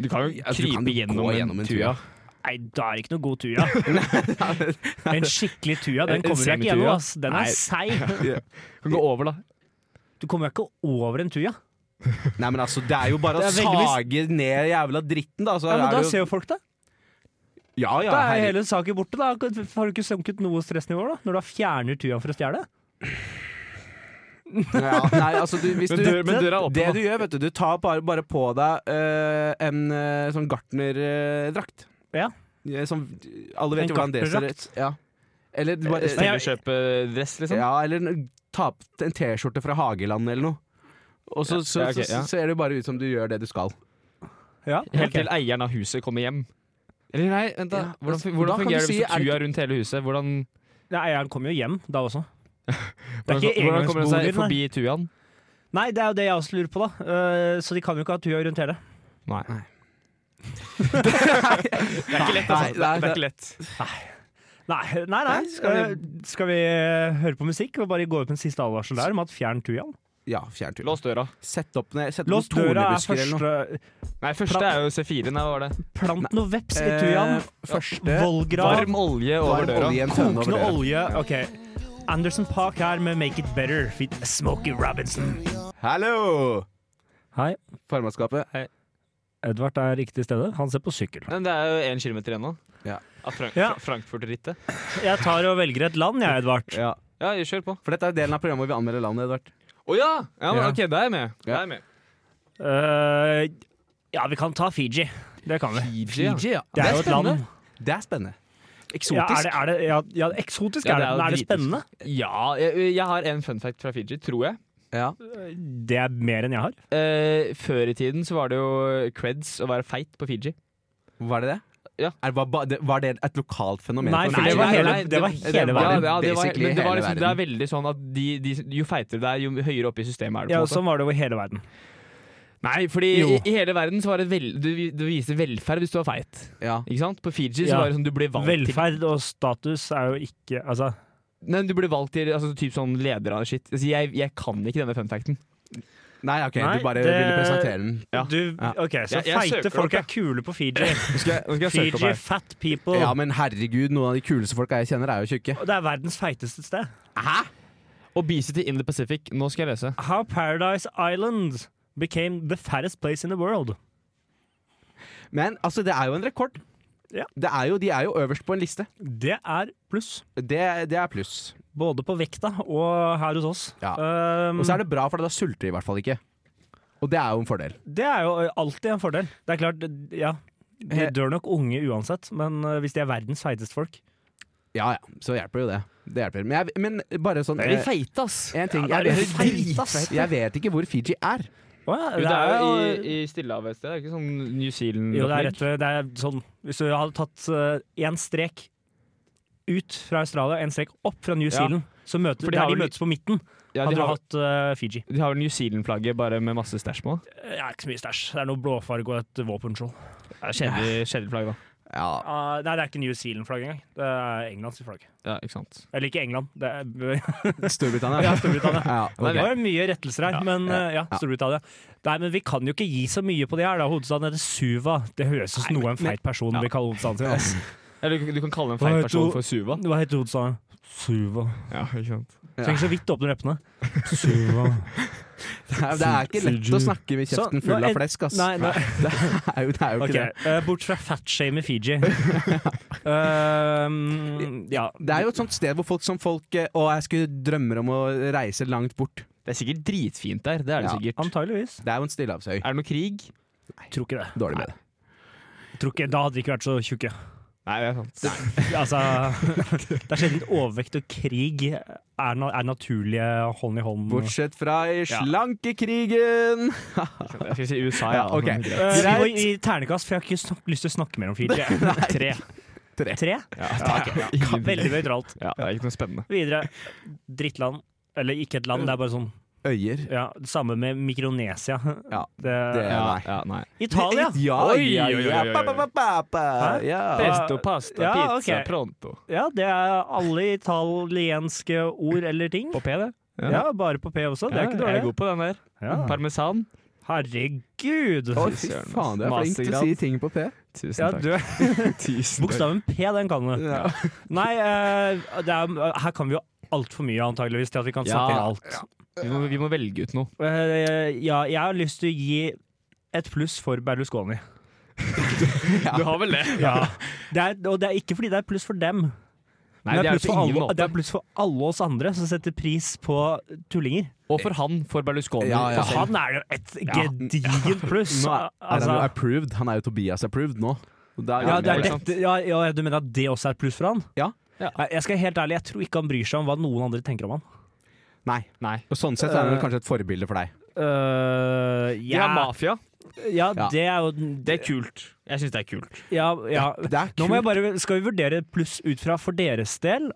S7: Du kan jo
S2: Altså, du
S7: krype
S2: kan gå
S7: gjennom,
S2: gjennom
S7: en
S2: en
S7: tua.
S5: Nei, da er det ikke noe god tuja. [laughs] En skikkelig tuja, den
S7: En- en
S5: kommer deg ikke
S7: semituja.
S5: gjennom. ass. Den
S7: Nei.
S5: er seig.
S7: Du kan gå over, da.
S5: Du kommer deg ikke over en tuja.
S2: [laughs] Nei, men altså, det er jo bare å
S5: Det er veldigvis-
S2: sage ned jævla dritten, da. Så
S5: Ja, men da
S2: er det jo
S5: ser jo folk det.
S2: Ja, ja,
S5: Da er
S2: herregud.
S5: hele saken borte. da Har du ikke sunket noe stressnivå da når du da fjerner tuja for å stjele?
S2: Ja, nei, altså du, hvis du,
S7: Men dør- men døra er åpen,
S2: Det
S7: da.
S2: du gjør, vet du, du tar bare, bare på deg eh, en eh, sånn gartnerdrakt. Eh,
S5: Ja.
S2: Som alle vet
S5: En
S2: jo hvordan det ser ut.
S5: gartnerdrakt?
S2: Ja. Eller eh, du bare
S7: Stemmekjøpedress, liksom.
S2: Ja, eller en- ta på en T-skjorte fra Hageland eller noe. Og så, så,
S7: Ja, ok,
S2: så,
S7: ja.
S2: så ser det jo bare ut som du gjør det du skal.
S5: Ja,
S7: Helt
S5: ok.
S7: til eieren av huset kommer hjem. Eller nei, vent da.
S2: Ja,
S7: Hvordan,
S2: altså, da
S7: hvordan
S2: kan
S7: fungerer det
S2: du si,
S7: hvis
S2: er det
S7: du er rundt hele huset? Hvordan,
S5: Nei, Eieren kommer jo hjem da også. Det er
S7: hvordan,
S5: ikke
S7: hvordan kommer det seg
S5: engangsboliger,
S7: forbi tuaen?
S5: Nei, det er jo det jeg også lurer på, da. Eh, så de kan jo ikke ha tuja rundt hele.
S7: Nei.
S2: Det er ikke lett,
S7: Altså, det, det er ikke lett.
S5: Nei, nei. nei.
S2: Nei, skal vi-
S5: Eh, skal vi høre på musikk og bare gå ut med en siste advarsel der om at fjern tujaen?
S2: Ja, fjern turen.
S7: Lås døra.
S2: Sett opp ned Sett
S5: Lås
S2: opp noen
S5: døra er
S2: tornebusker eller noe.
S5: første
S7: Nei, første er jo C4. Nei, hva var det?
S5: Plant noe veps i
S2: Eh,
S5: tujaen.
S2: første
S5: Vollgrav.
S7: Varm olje over
S2: Varm
S7: døra.
S2: olje i en tønne over
S5: Kokende
S2: døra.
S5: olje. OK. Anderson Park her med Make It Better, feat Smokey Robinson.
S2: Hallo!
S5: Hei.
S2: Formannskapet.
S5: Edvard er ikke til stede. Han ser på sykkel.
S7: Men det er jo én kilometer igjen nå.
S2: Ja.
S7: Av Frank
S5: Ja.
S7: Fra- Frankfurt-rittet.
S5: Jeg tar og velger et land, jeg, Edvard.
S2: Ja.
S7: Ja, kjør på.
S2: For dette er delen av programmet hvor vi anmelder landet, Edvard.
S7: Å ja! ja, men,
S2: Ja.
S7: Ok, da er jeg med. Da er jeg med.
S5: Eh, ja, vi kan ta Fiji. Det kan vi.
S7: Fiji, ja.
S2: ja.
S5: Det er jo et land.
S2: Det er spennende.
S5: Ja, er
S2: Eksotisk.
S5: det, er det, ja, ja, eksotisk
S7: Ja,
S5: er
S7: det
S5: det,
S7: er jo
S5: men er
S7: dritisk.
S5: det spennende?
S7: Ja, jeg, jeg har en fun fact fra Fiji, tror jeg.
S2: Ja.
S5: Det er mer enn jeg har.
S7: Eh, før i tiden så var det jo creds å være feit på Fiji.
S2: Var det det?
S7: Ja.
S2: Er, var, ba- det- var det et lokalt fenomen?
S5: Nei,
S2: for
S5: nei,
S2: Fiji?
S5: det var hele-
S7: nei,
S5: det var hele
S2: var
S5: verden.
S7: Ja, ja, det, var,
S2: basically
S7: men det, var
S2: hele
S7: liksom, det er
S2: verden.
S7: veldig sånn at de, de, jo feitere du er, jo høyere oppe i systemet er du. på
S5: Ja,
S7: en måte.
S5: Sånn var det over hele verden.
S7: Nei, fordi i,
S5: Jo.
S7: i hele verden så var det vel, du, du viser velferd hvis du er feit.
S2: Ja.
S7: Ikke sant? På Fiji
S5: Ja.
S7: så var det sånn du ble valgt
S5: Velferd og status er jo ikke Altså,
S7: til Nei, du ble valgt til altså, typ sånn leder av shit. Altså, jeg, jeg kan ikke denne funfacten.
S2: Nei, ok,
S5: Nei,
S2: du bare
S5: det-
S2: ville presentere den.
S7: Ja.
S5: du
S2: Ja.
S5: OK, så
S7: Jeg- jeg søker
S5: feite folk
S7: opp,
S5: er kule på Fiji.
S7: Nå skal jeg, nå skal jeg søke opp
S5: Fiji,
S7: her.
S5: fat people.
S2: Ja, men herregud, noen av de kuleste folka jeg kjenner, er jo tjukke.
S5: Og Det er verdens feiteste sted.
S7: Obesity in the Pacific. Nå skal jeg lese.
S5: How Paradise Island became the fattest place in the world.
S2: Men altså, det er jo en rekord.
S5: Ja.
S2: Det er jo, de er jo øverst på en liste.
S5: Det er pluss.
S2: Det, det er pluss.
S5: Både på vekta og her hos oss.
S2: Ja.
S5: Um,
S2: Og så er det bra, for da sulter de i hvert fall ikke. Og det er jo en fordel.
S5: det er jo alltid en fordel. Det er klart, ja. De
S2: Eh.
S5: dør nok unge uansett, men eh, hvis de er verdens feiteste folk
S2: Ja ja, så hjelper jo det. Det hjelper. Men, jeg, men bare sånn
S7: Det er
S2: eh,
S7: de feite, ass.
S2: En ting,
S5: Ja, det
S2: jeg,
S5: er
S2: vet,
S5: feit, ass.
S2: jeg vet ikke hvor Fiji er.
S5: Å ja,
S7: Jo, det er jo i, i Stillehavet et sted. Det er ikke sånn New Zealand
S5: Jo, det er rett og slett det er sånn Hvis du hadde tatt én strek ut fra Australia, én strek opp fra New
S7: Ja.
S5: Zealand, så møter,
S7: For de
S5: der
S7: har
S5: de
S7: vel-
S5: møtes på midten,
S7: Ja,
S5: hadde
S7: de
S5: du
S7: har,
S5: hatt eh, Fiji.
S7: de har vel New Zealand-flagget bare med masse stæsj på.
S5: Det er ikke så mye stæsj. Det er noe blåfarge og et våpenskjold.
S7: Det er Kjedelig kjedelig flagg, da.
S2: Ja,
S5: Ah, nei, det er ikke New Zealand-flagg engang. Det er Englands flagg.
S7: Ja, ikke sant.
S5: Eller ikke England. Det, er,
S2: Storbritannia.
S5: [laughs] Ja, Storbritannia.
S2: Ja, ok. [laughs]
S5: det var mye rettelser her, men eh, ja,
S2: ja.
S5: Storbritannia. Nei, men vi kan jo ikke gi så mye på de her, da. Hovedstaden heter Suva. Det høres ut som noe en feit person vil kalle hovedstaden sin. ass.
S7: Eller du, du kan kalle en
S5: Hva
S7: feit
S5: heter
S7: person
S5: hun?
S7: for Suva.
S5: Hva heter hovedstaden? Suva.
S7: Ja, ikke sant.
S5: Trenger så vidt å åpne leppene. Suva.
S2: Nei, Det er ikke lett å snakke med kjeften
S5: Så,
S2: full
S5: nå
S2: av
S5: er-
S2: flesk, ass.
S5: [laughs] Nei, nei.
S2: [laughs] Det er jo, det er jo ikke
S5: [laughs] Ok, eh, bort fra fatshame i [laughs] Fiji. Ehm, ja.
S2: det. Det er jo et sånt sted hvor folk som folk eh, Å, jeg skulle drømmer om å reise langt bort.
S7: Det er sikkert dritfint der. Det er det
S2: Ja.
S7: sikkert.
S5: Antageligvis.
S2: Det er jo en stillehavsøy.
S7: Er det noe krig?
S5: Tror ikke det.
S2: Dårlig med det.
S5: Tror ikke, da hadde vi ikke vært så tjukke.
S7: Nei, det er sant.
S5: [laughs] Altså, det er sjelden overvekt og krig er, na er naturlige hånd i hånd.
S2: Bortsett fra i slankekrigen!
S7: Jeg skal si USA, ja.
S2: Ja, ok.
S7: men greit.
S5: Eh, vi
S2: Greit.
S5: går i ternekast, for jeg har ikke snak lyst til å snakke mer om Fiji. Tre.
S2: Tre.
S5: Tre?
S7: [laughs] Ingen-
S5: Veldig nøytralt.
S7: Ja, det er ikke noe spennende.
S5: Videre. Drittland. Eller ikke et land, det er bare sånn
S2: Øyer.
S5: ja, Det samme med Mikronesia.
S2: Ja,
S5: det,
S2: det- Ja, nei.
S7: ja, nei.
S5: Italia!
S2: Ja,
S7: Oi,
S2: ja,
S7: oi, oi,
S2: ja.
S7: oi, oi.
S2: Pa, pa, pa, pa, pa.
S5: Hæ?
S2: ja.
S7: Pesto, pasta,
S5: Ja,
S7: pizza,
S5: ok.
S7: pronto.
S5: Ja, det er alle italienske ord eller ting.
S7: På P, det.
S5: Ja, bare på P også. Det er ikke
S7: Jeg er
S5: dårlig.
S7: god på den der.
S5: Ja.
S7: Parmesan.
S5: Herregud!
S2: Å, fy faen, du er flink til å si ting på P.
S7: Tusen
S5: Ja,
S7: takk.
S6: [laughs]
S5: du,
S7: Tusen takk.
S5: bokstaven P, den kan du.
S2: Ja.
S5: Nei, eh, det er, her kan vi jo altfor mye, antageligvis, til at vi kan
S7: Ja,
S5: snakke om alt.
S7: Vi må, vi må velge ut noe.
S5: Eh, ja, jeg har lyst til å gi et pluss for Berlusconi.
S6: Du har vel det?
S5: Ja. Det er, og det er ikke fordi det er pluss for dem.
S7: Nei,
S5: men
S7: det er
S5: pluss
S7: det på
S5: for
S7: ingen
S5: alle,
S7: måte.
S5: det er pluss for alle oss andre som setter pris på tullinger.
S7: Og for han, for Berlusconi.
S2: Ja, ja.
S7: for
S5: For
S7: selv.
S5: han er jo et gedigent pluss.
S2: Nå er, er han jo
S5: Altså,
S2: approved. Han er jo Tobias approved nå. Og da-
S5: ja, det er
S2: det-
S5: dette, ja, ja, du mener at det også er et pluss for han?
S2: Ja.
S7: Ja.
S5: Nei, Jeg skal være helt ærlig, jeg tror ikke han bryr seg om hva noen andre tenker om han.
S2: Nei.
S7: Nei.
S2: Og sånn sett er han vel kanskje et forbilde for deg.
S5: Øh,
S6: De
S5: ja,
S6: er mafia.
S5: ja,
S2: Ja.
S5: det er jo
S6: Det er kult. Jeg syns det er kult.
S5: Ja, ja.
S2: Det er
S5: Nå må jeg
S2: kult.
S5: bare, skal vi vurdere pluss ut fra for deres del,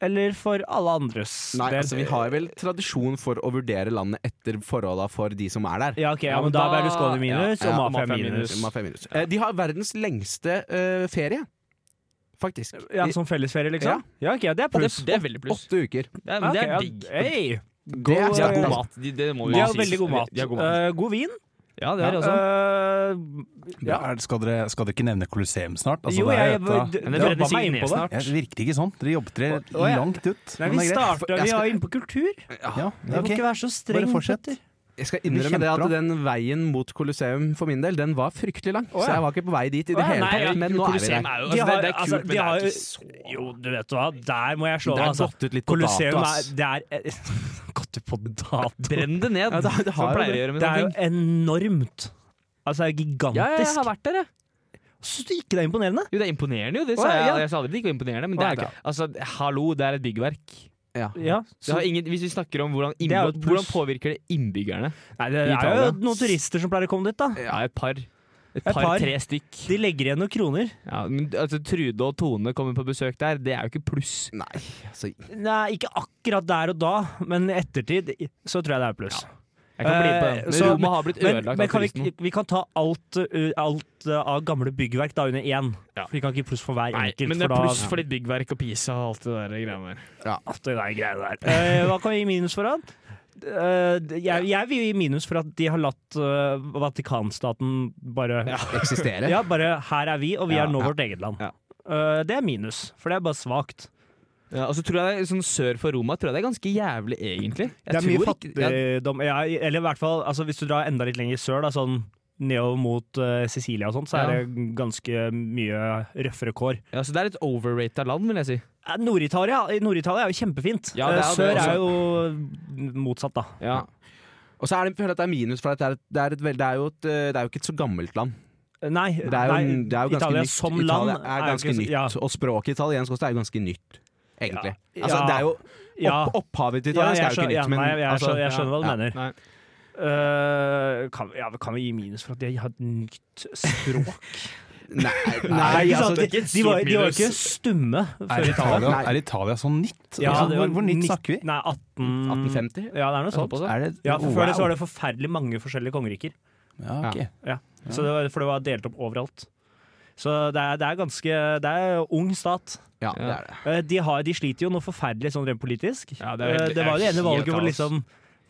S5: eller for alle andres
S2: Nei,
S5: del?
S2: altså, vi har vel tradisjon for å vurdere landet etter forholda for de som er der.
S5: Ja, ok, ja,
S6: Ja,
S5: men
S6: men
S5: da er
S6: da-
S5: Berlusconi minus,
S2: ja,
S5: og Mafia
S6: Mafia
S5: minus.
S2: Mafia minus. Eh, De har verdens lengste eh, ferie, faktisk.
S5: Ja,
S2: I
S5: Som fellesferie, liksom? Ja, ok, det er
S6: Det,
S5: pluss.
S6: det er veldig pluss.
S2: Åtte uker.
S6: Det er,
S5: Ja, ok,
S6: det er
S5: ja,
S6: digg.
S5: Hey,
S2: Det er
S5: God-
S6: De har
S2: sterkt,
S6: god
S2: altså.
S6: mat. De, det må jo
S5: de har
S6: sies.
S5: veldig god mat.
S6: De har god mat.
S5: Eh, god vin.
S6: Ja, det er
S7: sånn.
S6: det også.
S7: altså-
S5: Eh, ja.
S8: Er, skal, dere, skal dere ikke nevne Colosseum snart? Altså,
S5: jo,
S8: det er
S5: jeg
S8: et
S5: d-
S8: av-
S5: d-
S6: Men det
S5: droppa
S6: brenner
S5: meg
S6: sikkert
S5: inn
S6: ned
S5: på det.
S6: snart.
S8: Ja, det virker ikke sånn. Dere jobber dere
S5: Å, ja.
S8: langt ut.
S5: Nei,
S8: Men det
S5: vi
S8: er greit.
S5: starta, vi var inne på kultur.
S8: Ja,
S5: Du må
S8: ok.
S5: ikke være så streng.
S8: Bare fortsett.
S5: Petter.
S2: Jeg skal
S8: blir
S2: innrømme det at
S8: kjempebra.
S2: den veien mot Colosseum for min del, den var fryktelig lang. Så jeg var ikke på vei dit i det
S5: Å, ja,
S2: hele
S5: nei, ja,
S2: tatt, men nå er vi
S6: Colosseum
S2: der.
S6: er jo
S5: De
S6: altså, det,
S5: har-
S6: det er kult,
S5: altså, de
S6: men det
S5: har-
S6: er ikke så
S5: Jo, du vet hva, der må jeg slå
S2: Det
S5: deg,
S2: er
S5: altså.
S2: gått ut litt på dato,
S5: Colosseum er
S2: ass.
S5: Det er [laughs] Gått ut på dato.
S6: Brenn det ned,
S2: Ja, det- det har
S6: som
S2: jo
S6: pleier å
S2: det.
S6: gjøre med
S5: Det er
S6: sånne
S5: jo
S6: ting.
S5: enormt. Altså, det er
S6: Ja, ja, jeg
S5: gigantisk.
S6: har vært der, jeg.
S5: Syns du ikke det er imponerende?
S6: Jo, det er imponerende, jo. Det
S5: Å,
S6: sa
S5: ja,
S6: jeg.
S5: ja.
S6: Jeg sa aldri det ikke var imponerende,
S5: Å,
S6: men det
S5: ja,
S6: er ikke Altså, hallo, det er et byggverk.
S2: Ja.
S5: Ja.
S6: Det har ingen, hvis vi snakker om hvordan,
S5: er jo
S6: innbygg-
S5: et
S6: hvordan
S5: pluss.
S6: påvirker det innbyggerne
S5: Nei, det
S6: I
S5: er jo
S6: Italia.
S5: noen turister som pleier å komme dit, da.
S6: Ja, et par. Et
S5: par.
S6: par, tre stykk.
S5: De legger igjen noen kroner.
S6: Ja, men altså, Trude og Tone kommer på besøk der, det er jo ikke pluss.
S2: Nei, altså
S5: Nei, ikke akkurat der og da, men i ettertid så tror jeg det er pluss.
S6: Jeg kan bli med på den.
S5: Eh,
S6: Men
S5: så-
S6: Roma har blitt
S5: Men,
S6: ødelagt
S5: men
S6: av
S5: kan
S6: turisten.
S5: vi, vi kan ta alt, uh, alt uh, av gamle byggverk da under én.
S6: Ja.
S5: For vi kan ikke pluss for hver
S6: Nei,
S5: enkelt.
S6: men det er
S5: for da-
S6: pluss for litt byggverk og Pisa og alt det der greiene der.
S5: Alt det der greiene der. Eh, hva kan vi gi minus for han? Eh, jeg, jeg vil gi minus for at de har latt eh, Vatikanstaten bare
S2: [laughs]
S5: ja.
S2: Eksisterer.
S5: bare her er vi, og vi
S6: Ja,
S5: er nå
S6: ja.
S5: vårt eget land.
S6: Ja.
S5: Eh, det er minus, for det er bare svakt.
S6: Ja, og så tror jeg sånn Sør for Roma tror jeg det er ganske jævlig, egentlig. Jeg
S5: Det er mye
S6: tror ikke- ja,
S5: fattigdom ja, Eller i hvert fall, altså, hvis du drar enda litt lenger sør, da, sånn nedover mot eh, Sicilia og sånt, så er
S6: Ja.
S5: det ganske mye røffere kår.
S6: ja, så det er et overrata land, vil jeg si.
S5: Eh, Nord-Italia i Nord-Italia er jo kjempefint.
S6: Ja, det er
S5: Eh,
S6: det
S5: sør
S6: også.
S5: er jo motsatt, da.
S6: Ja.
S2: Og så er det, jeg føler at det er minus, for at det er, et- det, er et, vel- det, er jo et, eh, det er jo ikke et så gammelt land.
S5: Nei,
S2: Det er jo,
S5: nei
S2: det er jo ganske
S5: Italia
S2: nytt.
S5: som land
S2: Italia er
S5: jo
S2: ganske
S5: ikke så-
S2: nytt.
S5: Ja,
S2: Og språket italiensk også er jo ganske nytt, egentlig.
S5: Ja.
S2: Altså, det er jo
S5: ja.
S2: opp, Opphavet til
S5: Ja,
S2: italiensk
S5: jeg
S2: er jo
S5: skjønner-
S2: ikke
S5: ja,
S2: nytt, men
S5: nei, jeg,
S2: altså,
S5: skjønner, jeg skjønner hva du
S2: ja.
S5: mener.
S6: Nei.
S5: Eh, kan, ja, men kan vi gi minus for at de har et nytt språk?
S2: Nei,
S5: Nei,
S2: [laughs] nei, altså,
S5: de,
S2: det,
S5: de, var, de var ikke stumme før
S8: Er
S5: Italia.
S8: Italia,
S2: Nei.
S8: er Italia så nytt?
S5: Ja,
S8: altså,
S5: det var
S8: hvor, hvor nytt snakker vi?
S5: Nei, 18...
S2: 1850?
S5: Ja, det er noe sånt.
S8: Er det,
S5: Ja, for Før det så
S8: Wow.
S5: var det forferdelig mange forskjellige kongeriker.
S8: ja, ok.
S5: Så det var, for det var delt opp overalt. Så det er, det er ganske Det er ung stat.
S2: ja, det er det.
S5: Eh, De, har, de sliter jo noe forferdelig sånn rent politisk.
S6: Ja, det
S5: det,
S6: er veldig-
S5: det var det
S6: det er
S5: ene
S6: helt
S5: valget hvor
S6: kaos.
S5: liksom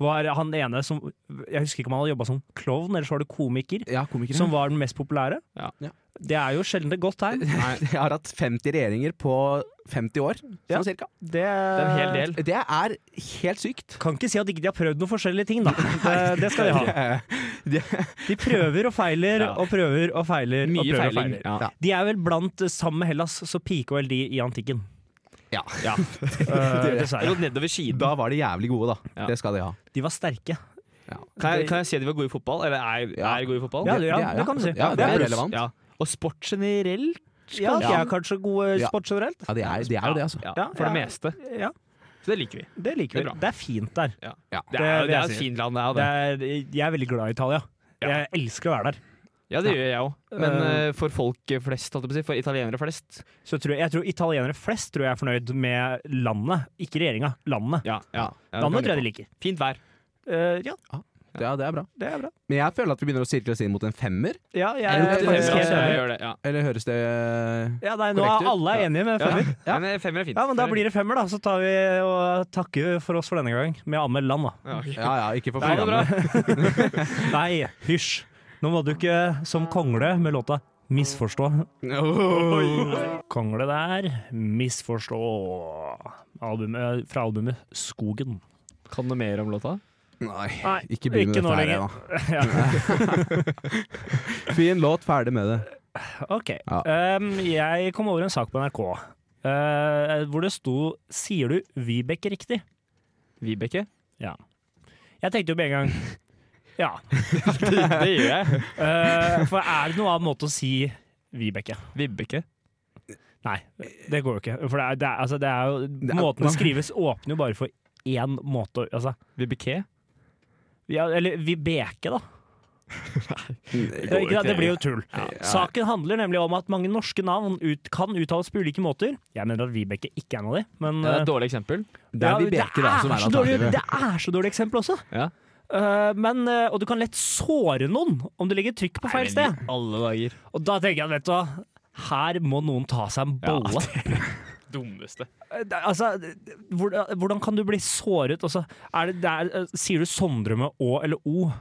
S5: var han ene som Jeg husker ikke om han hadde jobba som klovn, eller så var det komiker,
S2: Ja, komikere.
S5: som var den mest populære.
S6: Ja.
S2: Ja.
S5: Det er jo sjelden et godt tegn.
S6: [laughs]
S2: [laughs] Jeg har hatt 50 regjeringer på 50 år, sånn
S5: Ja.
S2: cirka.
S5: Det,
S6: Det er en hel del.
S2: Det er helt sykt.
S5: Kan ikke si at ikke de har prøvd noen forskjellige
S6: [laughs]
S5: ting, da. Det, det skal de ha. De prøver og feiler
S6: Ja.
S5: og prøver og feiler. og
S6: Mye
S5: prøver og
S6: feiling.
S5: feiler.
S6: Ja.
S5: De er vel blant, eh, sammen med Hellas, så pika vel de i antikken.
S2: Ja.
S6: [laughs]
S5: Eh,
S6: Jeg har
S5: dessverre.
S6: gått nedover siden.
S2: Da var de jævlig gode, da.
S6: Ja.
S2: Det skal de ha.
S5: De var sterke.
S6: Kan jeg, kan jeg si at de var gode i fotball? Eller er,
S2: Ja.
S6: er gode i fotball?
S5: Ja,
S2: det-
S5: ja,
S2: det er-
S5: det kan du si.
S2: Ja, det
S5: Det er
S2: er
S5: pluss.
S2: relevant.
S6: Ja. Og sport generelt?
S5: Ja, de er kanskje gode i
S2: Ja.
S5: sport generelt.
S2: Ja, de er, de er jo det, altså.
S6: Ja,
S5: Ja,
S6: for det
S5: ja.
S6: meste.
S5: Ja,
S6: Så det liker vi.
S5: det liker vi.
S6: Det er bra.
S5: Det er fint der.
S6: Det er,
S5: vil
S6: det
S5: jeg
S6: er et
S5: si.
S6: fint land, det er jo
S5: Det
S6: det.
S5: er, jeg er veldig glad i Italia.
S6: Ja.
S5: Jeg elsker å være der.
S6: Ja, det gjør jeg òg. Men
S5: Eh,
S6: eh, for folk flest, holdt jeg på å si, for italienere flest
S5: Så tror jeg, jeg tror italienere flest tror jeg er fornøyd med landet, ikke regjeringa. Landet.
S6: Ja. ja, ja det kan
S5: Landet
S6: jeg
S5: tror jeg
S6: lure
S5: de liker.
S6: på. Fint vær.
S5: Eh, ja.
S2: Ja, det er bra.
S5: Det er bra.
S2: Men jeg føler at vi begynner å sirkle oss inn mot en femmer.
S5: Ja, jeg,
S7: Eh,
S2: Er det
S5: jeg,
S2: noe
S5: jeg,
S2: til å
S6: Ja,
S2: si?
S6: gjør det, ja.
S2: Eller høres det Ja,
S5: ja, nei, nå
S2: Korrekt
S5: er
S2: ut.
S5: alle enige med femmer.
S6: Nei, men femmer er fint.
S5: Ja, men da blir det femmer, da. Så tar vi og takker for oss for denne gang med anmeldt land, da.
S6: ja, ok.
S2: ja, ikke for
S6: Ha det bra.
S2: programmet.
S5: Nei, hysj. Nå må du ikke, som kongle med låta 'Misforstå'. Kongle der, 'Misforstå'. Albumet, fra albumet 'Skogen'.
S7: Kan du mer om låta?
S2: Nei,
S5: Nei,
S2: ikke begynn med
S5: ikke nå
S2: dette her
S5: lenger.
S2: ennå. Fin låt, ferdig med det.
S5: Ok.
S2: Ja.
S5: Ehm, jeg kom over en sak på NRK eh, hvor det sto 'Sier du Vibeke riktig?'
S7: [laughs] Vibeke?
S5: Jeg tenkte jo med en gang Ja.
S7: Det gjør jeg.
S5: Eh, for er det noen annen måte å si Vibeke?
S7: Vibeke.
S5: Nei, det går jo ikke. For det er, det er, altså, det er jo,
S2: er-
S5: måten det skrives åpner jo bare for én måte å altså,
S7: Vibeke?
S5: ja, Eller Vibeke, da.
S2: Det
S5: Det, ikke, sant? det blir jo tull. Saken handler nemlig om at mange norske navn ut, kan uttales på ulike måter. Jeg mener at Vibeke ikke er en av de, men
S7: Det er
S5: eh,
S7: et dårlig eksempel.
S2: Det er
S5: ja,
S2: Vibeke, da, som er
S5: så dårlig,
S2: alternativet.
S5: det er så dårlig eksempel også.
S7: Ja.
S5: Eh, men, eh, og du kan lett såre noen om det ligger trykk på feil sted.
S7: Alle dager.
S5: Og da tenker jeg, vet du hva, her må noen ta seg en bolle.
S6: Dummeste.
S5: Eh, det- Altså, det- hvordan, hvordan kan du bli såret? Og så er det der, eh, sier du Sondre med Å eller O?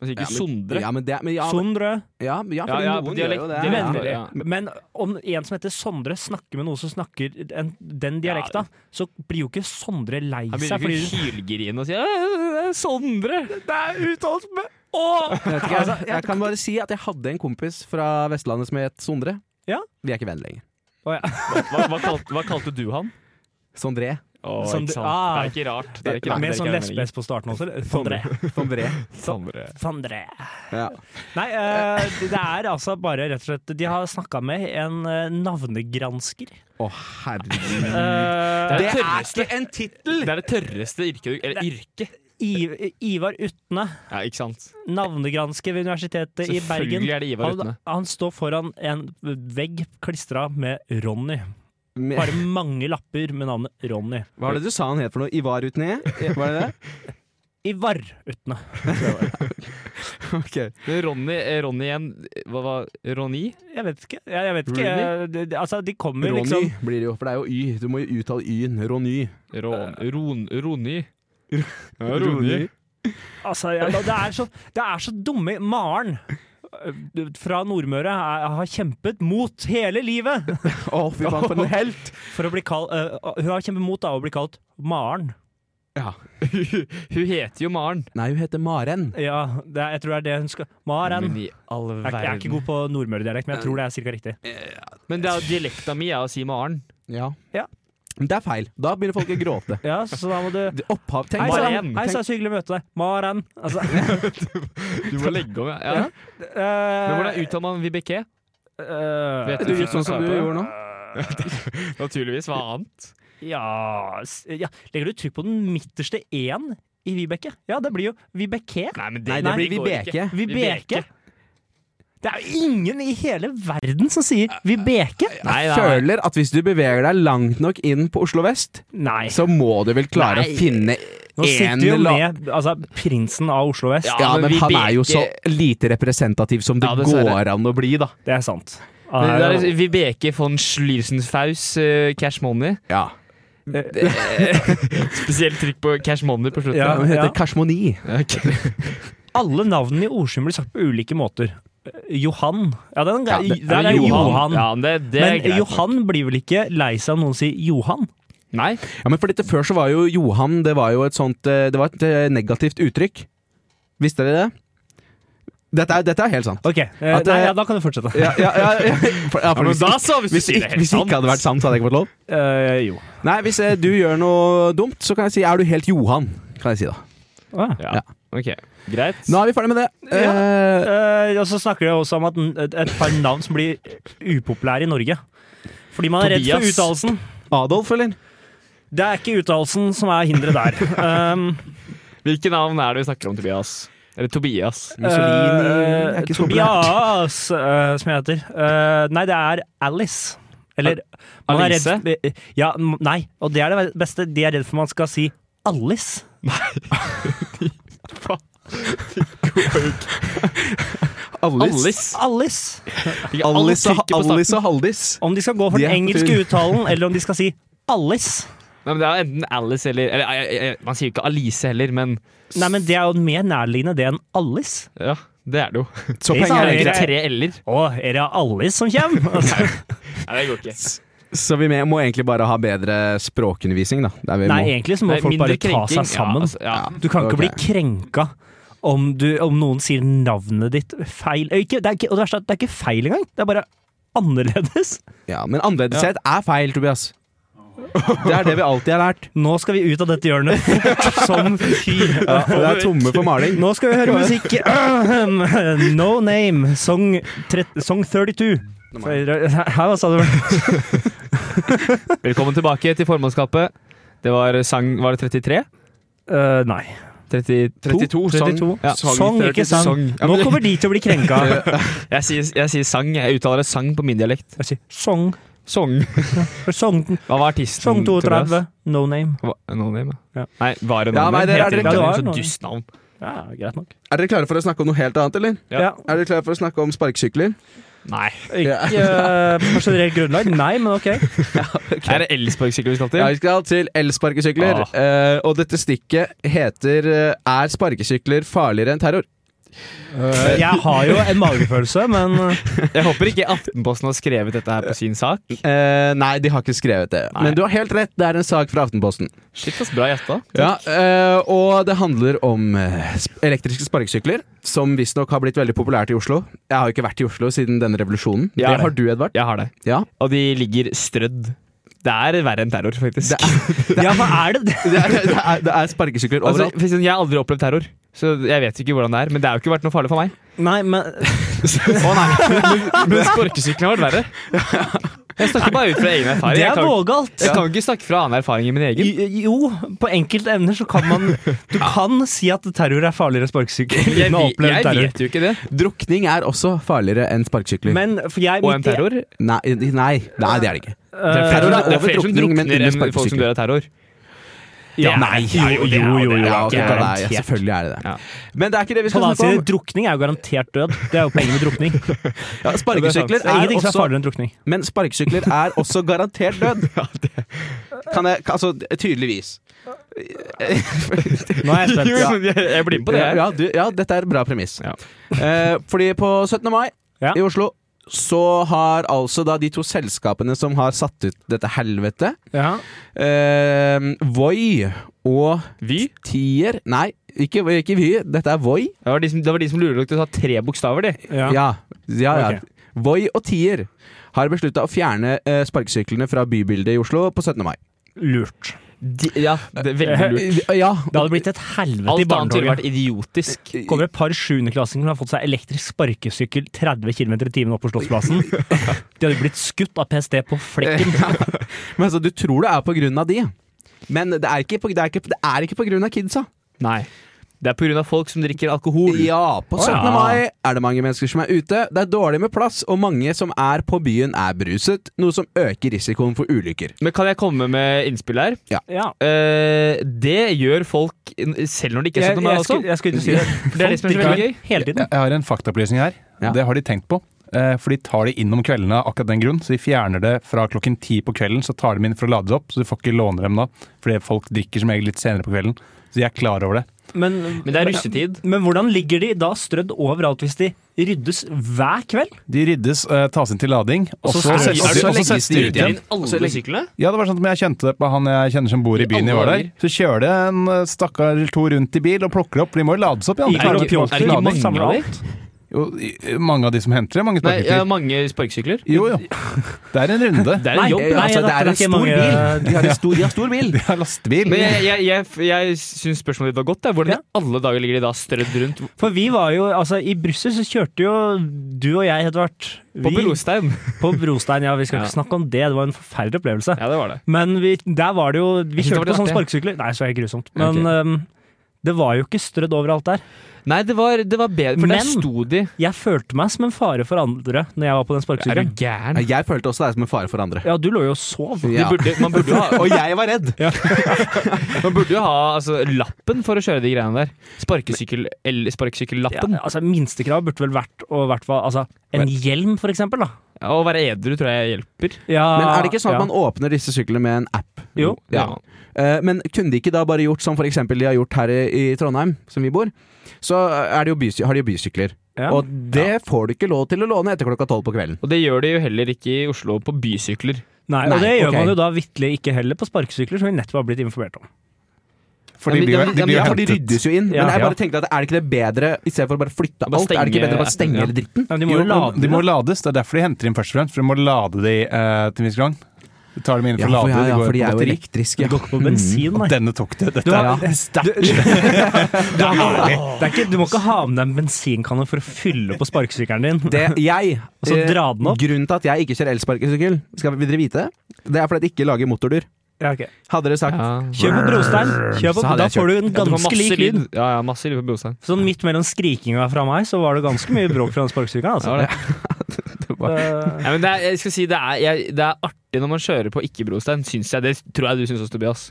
S7: Altså ikke
S2: Ja, men-
S7: Sondre.
S2: Ja, men det, men ja,
S5: Sondre.
S2: ja, ja,
S7: Ja,
S2: for
S7: ja, dialekt-
S2: noen gjør jo det.
S5: Det
S7: dialekt-
S5: mener
S7: ja.
S5: jeg. Men om en som heter Sondre snakker med noen som snakker en, den dialekta, så blir jo ikke Sondre lei
S7: Han
S5: seg.
S7: begynner
S5: Fordi,
S7: ikke å hylgrine og si «Ja, det er Sondre! Det er uttalt med Å!
S2: Jeg, vet ikke, altså, jeg kan bare si at jeg hadde en kompis fra Vestlandet som het Sondre.
S5: Ja.
S2: Vi er ikke venner lenger.
S7: Hva, hva, kalte, hva kalte du han?
S2: Sondre.
S7: Å,
S5: Sondre-
S7: ikke sant.
S5: ah.
S7: det er ikke rart. Det er ikke rart.
S5: med
S7: dere
S5: sånn
S7: ikke er venner
S5: lesbes på starten også. eller? Sondre.
S2: Sondre.
S7: Sondre.
S5: Sondre.
S2: Ja.
S5: Nei, eh, det er altså bare rett og slett De har snakka med en eh, navnegransker.
S2: Å, herregud.
S5: Eh,
S7: Det er
S2: ikke en tittel!
S7: Det er det tørreste yrket du Eller yrke.
S5: I- Ivar Utne,
S7: Ja, ikke sant.
S5: navnegransker ved Universitetet i Bergen.
S7: Selvfølgelig er det Ivar
S5: Han,
S7: Utne.
S5: han står foran en vegg klistra med Ronny. Bare mange lapper med navnet Ronny.
S2: Hva var det du sa han het for noe? Ivar Utne? Var det det?
S5: Ivar Utne.
S2: Ok.
S7: Men Ronny, eh, Ronny igjen Hva var Ronny?
S5: Jeg vet ikke. Jeg, jeg vet ikke.
S7: Ronny?
S5: Eh, det- det- Altså, de kommer
S2: Ronny
S5: liksom
S2: blir det jo, for det er jo Y. Du må jo uttale Y-en. Ronny.
S7: Ron, Ron, Ronny.
S5: altså, ja, det, er så, det er så dumme Maren eh, fra Nordmøre er, har kjempet mot hele livet
S2: Å, fy faen,
S5: [laughs]
S2: for en helt!
S5: for å bli kalt eh, Hun har kjempet mot da, å bli kalt Maren.
S2: Ja.
S7: [laughs] Hun heter jo Maren.
S2: Nei, hun heter Maren.
S5: Ja, det, er- jeg tror det er det hun skal Maren.
S7: Men i all
S5: Jeg, er ikke- jeg er ikke
S7: verden.
S5: god på nordmøredialekt, men jeg tror det er cirka riktig.
S7: Men det er jo dialekta mi er å si Maren.
S2: Ja.
S5: Ja.
S2: Men det er feil. Da begynner folk å gråte.
S5: Ja, så da må du
S2: Det- Opphav Tenk
S5: Hei
S2: bare
S5: sann,
S7: Maren.
S5: hei, sann, så hyggelig å møte deg. Maren. Altså,
S7: Du må legge om, ja. ja. Men
S5: eh,
S7: hvordan uttaler man Vibeke? Vet
S2: Du gjør sånn som du gjorde nå.
S7: Naturligvis. Hva annet?
S5: eh, Ja, s- ja Legger du trykk på den midterste én i Vibeke? Ja, det blir jo Vibeke.
S7: Nei, men
S2: Nei, det blir Vibeke.
S5: Vibeke. Det er jo ingen i hele verden som sier Vibeke!
S2: Jeg føler at hvis du beveger deg langt nok inn på Oslo vest,
S5: Nei.
S2: så må du vel klare
S5: Nei.
S2: å finne
S5: Nå sitter
S2: en
S5: vi jo
S2: la-
S5: med altså, prinsen av Oslo vest.
S2: Ja, men han
S7: Vibeke-
S2: er jo så lite representativ som det
S7: Ja, dessverre.
S2: går an å bli, da.
S5: Det er sant.
S7: Det
S5: Ah,
S7: det er Vibeke von Schliersenfaus, eh, Cash Money.
S2: Ja.
S7: Spesielt trykk på Cash Money på slutten.
S5: Ja.
S2: Hun heter Kashmoni.
S5: Alle navnene i ordsum blir sagt på ulike måter. Eh, Johan Ja, den,
S2: Ja, det-
S5: der er Johan.
S7: Ja, men det, det er
S5: Men
S7: greit.
S5: Johan blir vel ikke lei seg om noen sier Johan?
S7: Nei.
S2: Ja, men for dette før så var jo Johan Det var jo et sånt eh, Det var et eh, negativt uttrykk. Visste dere det? Dette er, dette er helt sant.
S5: Ok, eh,
S2: At,
S5: nei,
S2: eh,
S5: ja, da kan du fortsette.
S2: Ja, ja, ja, ja, for, ja, for hvis, ikke,
S7: så,
S2: hvis, ikke, hvis ikke hadde vært sant, så hadde jeg ikke fått lov.
S5: Eh, jo.
S2: Nei, hvis eh, du gjør noe dumt, så kan jeg si 'er du helt Johan'? Kan jeg si da.
S5: Ah.
S7: Ja. Ok, greit.
S2: Nå er vi ferdig med det. Eh,
S5: Eh, og så snakker de også om at n- et, et par navn som blir upopulære i Norge. Fordi man er redd for
S7: Tobias.
S5: uttalelsen.
S2: Adolf, eller?
S5: Det er ikke uttalelsen som er hinderet der. Um,
S7: Hvilke navn er det vi snakker om, Tobias? Eller Tobias?
S2: Mussolini er
S5: eh,
S2: ikke så populært.
S5: Tobias, eh, som jeg heter. Eh, nei, det er Alice. Eller man er
S7: Alice?
S5: redd for- Ja, m- nei. Og det er det beste. De er redd for man skal si Alice.
S7: Faen.
S2: Allis.
S5: Alice.
S2: Allis og
S7: trykket på starten.
S2: Allis og Haldis.
S5: Om de skal gå for
S2: Det
S5: den
S2: er
S5: engelske
S2: tur.
S5: uttalen, eller om de skal si Alice.
S7: Nei, men det er enten Alice eller, eller jeg, jeg, jeg, Man sier jo ikke Alice heller, men
S5: Nei, men det er jo mer nærliggende det enn Alice.
S7: ja, det er det jo.
S2: Så
S7: [laughs] Det
S5: Det sa
S2: poenget er
S7: er
S5: jeg.
S2: ikke
S7: ikke tre L-er.
S5: Å, er det Alice som kommer?
S2: [laughs]
S7: Nei, det går ikke.
S2: Så vi med- må egentlig bare ha bedre språkundervisning, da. Det er vi
S5: Nei,
S2: må.
S5: egentlig så må
S7: Nei,
S5: folk bare
S7: mindre
S5: ta
S7: krenking.
S5: seg sammen.
S7: Ja, altså, ja.
S5: Du kan ikke
S2: ok.
S5: bli krenka om, du, om noen sier navnet ditt feil. Eh, Ikke, det, er ikke, og det, verste er, at det er ikke feil engang, det er bare annerledes.
S2: Ja, men annerledeshet er feil, Tobias. Det er det vi alltid har lært.
S5: Nå skal vi ut av
S7: [laughs]
S5: dette hjørnet fort som fy.
S2: Det er tomme for maling.
S5: Nå skal vi høre musikk. [clears throat] No Name, song, tre, song 32. Hæ, hva sa du?
S7: Velkommen tilbake til formannskapet. Det var eh, sang Var det 33?
S5: Eh, nei.
S7: 30,
S2: 32, sang.
S7: 32. Ja.
S5: Song, ikke sang.
S7: Ja,
S5: Nå
S7: men,
S5: kommer de til å bli krenka.
S7: [laughs] jeg, sier, jeg sier sang. Jeg uttaler sang på min dialekt.
S5: Jeg sier Song,
S7: Song.
S5: song,
S7: Hva var artisten?
S5: song
S7: Tobias?
S5: 32, No Name.
S7: Hva- No name, ja.
S5: Ja.
S7: Nei, var det no
S2: Ja,
S7: name?
S2: nei, det er-
S7: Heter
S2: det-
S7: ikke
S5: ja, det
S7: det? sånn
S5: var
S7: Så
S5: no name.
S7: dust navn.
S5: Ja, greit nok.
S2: Er dere klare for å snakke om noe helt annet, eller?
S7: Ja.
S5: Ja.
S2: Er dere klare for å snakke om sparkesykler? [laughs]
S7: Nei.
S5: Ikke eh, på generelt grunnlag, nei, men ok.
S7: Er det elsparkesykkel vi skal til?
S2: Ja, vi skal til elsparkesykler. Eh, og dette stikket heter eh, 'Er sparkesykler farligere enn terror'?
S5: Jeg har jo en magefølelse, men eh, [laughs]
S7: Jeg håper ikke Aftenposten har skrevet dette her på sin
S2: [laughs]
S7: sak.
S2: Eh, nei, de har ikke skrevet det.
S7: Nei.
S2: Men du har helt rett, det er en sak fra Aftenposten.
S7: Shit, ass, bra gjetta.
S2: Ja, eh, og det handler om eh, sp- elektriske sparkesykler, som visstnok har blitt veldig populært i Oslo. Jeg har jo ikke vært i Oslo siden denne revolusjonen.
S7: Ja, det.
S2: det har du, Edvard.
S7: Jeg har det.
S2: Ja.
S7: Og de ligger strødd. Det er verre enn terror, faktisk.
S2: Det er,
S5: Ja, hva er det det?
S2: [laughs] det er, det er, det er sparkesykler
S7: Altså,
S2: overalt.
S7: for eksempel, jeg har aldri opplevd terror, så jeg vet ikke hvordan det er. Men det har jo ikke vært noe farlig for meg.
S5: Nei, men
S7: Å [laughs] nei, Men sparkesykkelen har vært verre. Jeg snakker bare ut fra egen erfaring.
S5: det
S7: Jeg
S5: er
S7: kan,
S5: vågalt.
S7: jeg kan ikke snakke fra annen erfaring enn min egen.
S5: I- Jo, på enkelte evner så kan man Du kan si at terror er farligere enn sparkesykkel
S7: Jeg,
S5: uten å ha
S7: vi-
S5: opplevd
S7: jeg
S5: terror.
S7: vet jo ikke det.
S2: Drukning er også farligere enn sparkesykler.
S5: Men for jeg
S7: Og en
S5: mitt-
S7: terror. Det
S2: Nei, nei, nei, det er det ikke.
S7: er
S5: eh,
S7: flere,
S2: terror er
S7: som- det er flere som
S2: overdrukning, men
S7: drukner
S2: under
S7: enn folk som
S2: sparkesykkel.
S7: dør av [laughs] terror.
S5: ja, nei, jo, jo, jo. jo, jo,
S2: Ja, ok,
S5: det er
S2: nei,
S5: garantert.
S2: ja, selvfølgelig er det det.
S7: Ja.
S2: Men det er ikke det
S5: På
S2: vi skal
S5: den annen
S2: snakke
S5: side,
S2: om.
S5: drukning er jo garantert død. Det er jo poenget med
S7: [laughs]
S5: drukning. Det
S2: Ja, sparkesykler
S5: er
S2: er
S5: ingenting som er
S2: også
S5: farligere enn drukning.
S2: Men sparkesykler er også garantert død.
S5: [laughs]
S2: Kan jeg, kan- altså, tydeligvis.
S5: Nå er jeg
S2: [laughs]
S5: spent.
S7: Jo, men [laughs] jeg, jeg blir med på det.
S2: Ja,
S7: Jeg.
S2: ja, du, ja, dette er et bra premiss.
S7: Ja.
S2: Eh, fordi på 17. mai
S5: Ja.
S2: i Oslo så har altså da de to selskapene som har satt ut dette helvete,
S5: Ja.
S2: eh, Voi og
S7: Vi?
S2: Tier Nei, ikke, ikke Vy, dette er Voi.
S7: Det var de som, det var de som lurer dere til å ta tre bokstaver, de.
S5: Ja.
S2: Ja, ja, ja.
S5: Ok.
S2: Voi og Tier har beslutta å fjerne eh, sparkesyklene fra bybildet i Oslo på 17. mai. Eh,
S5: Lurt.
S7: de ja, det er veldig lurt.
S2: Ja,
S5: Det hadde blitt et helvete i
S7: Alt annet ville
S5: barnehagen.
S7: vært idiotisk.
S5: kommer et par sjuendeklassinger som har fått seg elektrisk sparkesykkel 30 km i timen opp på Slottsplassen. [laughs] De hadde blitt skutt av PST på flekken.
S2: Men altså, du tror det er på grunn av de. Men det er ikke på, det er ikke, det er ikke på grunn av kidsa.
S7: Nei. Det er pga. folk som drikker alkohol.
S2: Ja, på 17.
S5: ja.
S2: mai er det mange mennesker som er ute. Det er dårlig med plass, og mange som er på byen er bruset, noe som øker risikoen for ulykker.
S7: Men kan jeg komme med innspill her?
S5: Ja.
S7: Eh, det gjør folk selv når de ikke er 17 mai også.
S5: skulle- jeg skulle ikke si det.
S7: Det er det som er så
S5: Folk
S7: veldig gøy.
S5: drikker Hele tiden.
S8: Jeg har en faktaopplysning her.
S2: Ja.
S8: Det har de tenkt på. Eh, For de tar det inn om kveldene av akkurat den grunn. Så de fjerner det fra klokken ti på kvelden, så tar de inn for å lade det opp. Så du får ikke låne dem da, fordi folk drikker som regel litt senere på kvelden. Så de er klar over det.
S5: Men,
S7: Men det er russetid.
S5: men hvordan ligger de da strødd overalt hvis de ryddes hver kveld?
S8: De ryddes, eh, tas inn til lading, og så
S7: Er det-
S8: settes
S7: er det-
S8: de- og så
S7: legges
S8: settes de ut
S7: det
S8: igjen.
S7: inn alle syklene?
S8: Ja, det var sånn at jeg kjente det på han jeg kjenner som bor i byen
S7: alle
S8: jeg var der.
S7: dager.
S8: Så kjører det en eh, stakkar eller to rundt i bil og plukker det opp, for de må jo lades opp.
S5: I
S8: Ja.
S5: Karl
S7: det ikke-
S5: Piotr
S7: er det ikke
S5: Laden
S7: mange
S5: samler
S7: av de?
S5: alt?
S8: Jo, i- mange av de som henter det, mange
S7: Nei, jeg har
S8: sparkesykler.
S7: mange sparkesykler.
S8: Jo, [laughs] jo. Det er en runde.
S5: [laughs]
S7: Det er en jobb.
S5: Nei,
S2: altså,
S5: det
S2: det er
S5: er
S2: en
S5: ikke
S2: stor
S5: mange-
S2: bil. De har, en stor, de har stor bil.
S5: [laughs]
S8: De har lastebil.
S7: Men jeg, jeg, jeg, jeg syns spørsmålet ditt var godt. Da. Hvordan i alle dager ligger de da strødd rundt
S5: For vi var jo, altså I Brussel så kjørte jo du og jeg, Edvard.
S7: på
S5: vi-
S7: Belostein?
S5: På Brostein, ja. Vi
S7: Ja.
S5: skal ikke snakke om det. Det var en forferdelig opplevelse.
S7: [laughs] Ja, det var det.
S5: Men vi, der var det jo Vi
S7: Jeg synes det var
S5: kjørte på
S7: litt
S5: sånne
S7: artig.
S5: sparkesykler. Nei, så er det grusomt. Men
S7: Ok.
S5: øhm, Det var jo ikke strødd overalt der.
S7: Nei, det var, det var bedre, for
S5: Men-
S7: der sto de.
S5: Jeg følte meg som en fare for andre når jeg var på den
S7: Er du
S5: sparkesykkelen.
S7: gæren?
S2: Nei, Jeg følte også det er som en fare for andre.
S5: Ja, du lå jo og sov.
S7: De
S2: Ja.
S7: burde, man, burde jo ha, [laughs]
S2: Og jeg var redd!
S7: man burde jo ha altså, lappen for å kjøre de greiene der. Sparkesykkel- eller
S5: Ja,
S7: Sparkesykkellappen.
S5: altså, Minstekrav burde vel vært å hvert fall altså, en hjelm, for eksempel. da.
S7: Ja. Å være edru tror jeg hjelper.
S5: Ja,
S2: Men er det ikke sånn at
S5: ja.
S2: man åpner disse syklene med en app?
S5: Jo.
S2: Ja. Eh, Men kunne de ikke da bare gjort som for eksempel de har gjort her i i Trondheim, som vi bor? Så er det jo bysy har de jo bysykler.
S5: Ja.
S2: Og det får du ikke lov til å låne etter klokka tolv på kvelden.
S7: Og det gjør de jo heller ikke i Oslo på bysykler.
S5: Nei,
S2: Nei,
S5: og det gjør
S2: ok.
S5: man jo da vitterlig ikke heller på sparkesykler, som vi nettopp har blitt informert om.
S8: For de blir
S7: Ja,
S8: jo
S7: men-
S8: de
S7: ja, men-
S8: blir jo
S7: ja,
S2: For de
S8: hentet.
S2: ryddes jo inn.
S5: Ja.
S2: men jeg bare tenkte at er det ikke det bedre, istedenfor å bare flytte
S7: Bare
S2: alt, er det ikke
S7: stenge
S2: bedre å bare stenge
S7: appen, ja.
S2: hele dritten?
S5: Men de må
S8: Jo,
S5: jo lade
S8: men de må
S5: det.
S8: lades. Det er derfor de henter inn først og fremst. For de må lade de eh, til en viss gang. Du tar dem inn for å lade,
S2: ja,
S8: de
S2: ja,
S8: går
S2: for de
S8: på
S2: er jo
S8: batteri.
S2: elektriske.
S5: Det går ikke på bensin,
S8: Og
S5: nei.
S8: denne tok det. Dette
S5: Du
S8: er
S5: har-
S8: det er sterkt.
S5: [laughs] Det er herlig. Det er ikke, du må ikke ha med deg en bensinkanne for å fylle på sparkesykkelen din.
S2: Det, jeg,
S5: Og så
S2: eh,
S5: dra den opp.
S2: Grunnen til at jeg ikke kjører elsparkesykkel, skal vi- vil dere vite det? Det er fordi jeg ikke lager motordyr.
S5: Ja, ok.
S2: Hadde dere sagt
S5: Kjør på brostein. Kjør
S2: Så
S5: på,
S2: hadde
S5: da
S2: jeg
S5: får du en
S7: Ja, du får
S5: ganske
S7: masse
S5: lik lyd.
S7: Ja, ja, masse lyd på brostein.
S5: Sånn midt mellom skrikinga fra meg, så var det ganske mye bråk fra den
S7: Ja,
S5: sparkesykkelen. Altså.
S7: det.
S5: [laughs]
S7: Ja, men det er, jeg skal si, det er, jeg, det er artig når man kjører på ikke-brostein, syns jeg. Det tror jeg du syns også, Tobias.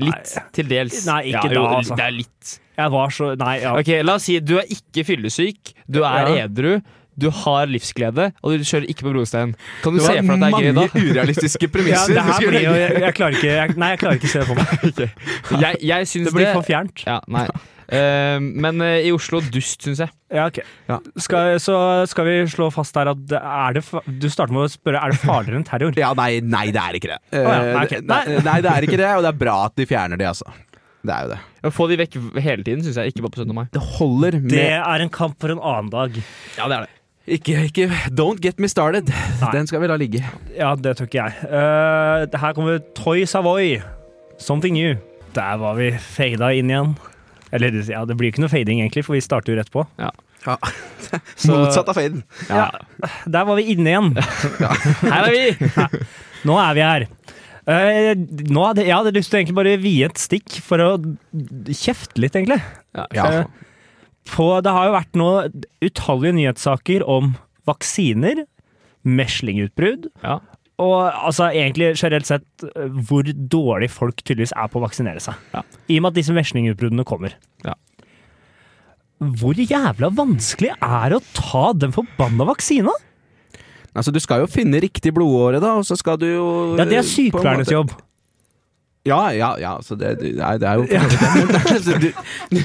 S7: Litt,
S5: Nei.
S7: til dels.
S5: Nei, ikke
S7: jo,
S5: da, altså.
S7: Det er litt.
S5: Eh, Jeg var så Nei, ja.
S7: Ok, La oss si du er ikke fyllesyk, du er
S5: Ja.
S7: edru, du har livsglede, og du kjører ikke på brostein. Kan du
S2: Det
S7: se
S2: var
S7: for deg at det er
S2: mange
S7: gøy da? [laughs]
S2: urealistiske
S5: Ja,
S2: premisser.
S5: det her blir jo jeg, jeg klarer ikke jeg, Nei, jeg klarer ikke å se det for [laughs] meg.
S7: Jeg, jeg syns
S5: Det blir for fjernt.
S7: Ja, nei. Eh, men eh, i Oslo dust, syns jeg.
S5: Ja, ok.
S2: Ja.
S5: Skal, så skal vi slå fast her at det- er det, fa- du starter med å spørre er det farligere enn terror.
S2: Ja, nei, nei, det er ikke det.
S5: ja, nei, ok.
S2: Eh, nei, nei, det er ikke det, og det er bra at de fjerner det, altså. Det er jo det.
S7: Å få de vekk hele tiden syns jeg ikke bare på 17. mai.
S2: Det holder med
S5: Det er en kamp for en annen dag.
S7: Ja, det er det.
S2: Ikke, ikke Don't get me started.
S5: Nei.
S2: Den skal vi la ligge.
S5: Ja, det tror ikke jeg. Eh, her kommer Toy Savoy, 'Something New'. Der var vi fada inn igjen. Eller ja, det blir ikke noe fading, egentlig, for vi starter jo rett på. Så-
S2: Motsatt av faden.
S5: Ja. Der var vi inne igjen.
S7: Her er vi!
S5: Nå er vi her. Eh, nå hadde, jeg hadde lyst til å egentlig bare vie et stikk for å kjefte litt, egentlig. Eh, på, det har jo vært nå utallige nyhetssaker om vaksiner, meslingutbrudd,
S7: Ja.
S5: og altså egentlig generelt sett eh, hvor dårlig folk tydeligvis er på å vaksinere seg.
S7: Ja.
S5: I og med at disse meslingutbruddene kommer.
S7: Ja.
S5: Hvor jævla vanskelig er det å ta den forbanna vaksina?
S2: Altså, du skal jo finne riktig blodåre, da, og så skal du jo
S5: Ja, det er
S2: på en måte-
S5: sykepleiernes jobb.
S2: Ja, ja, ja. Så det, du- nei, det er jo [laughs] Altså, du,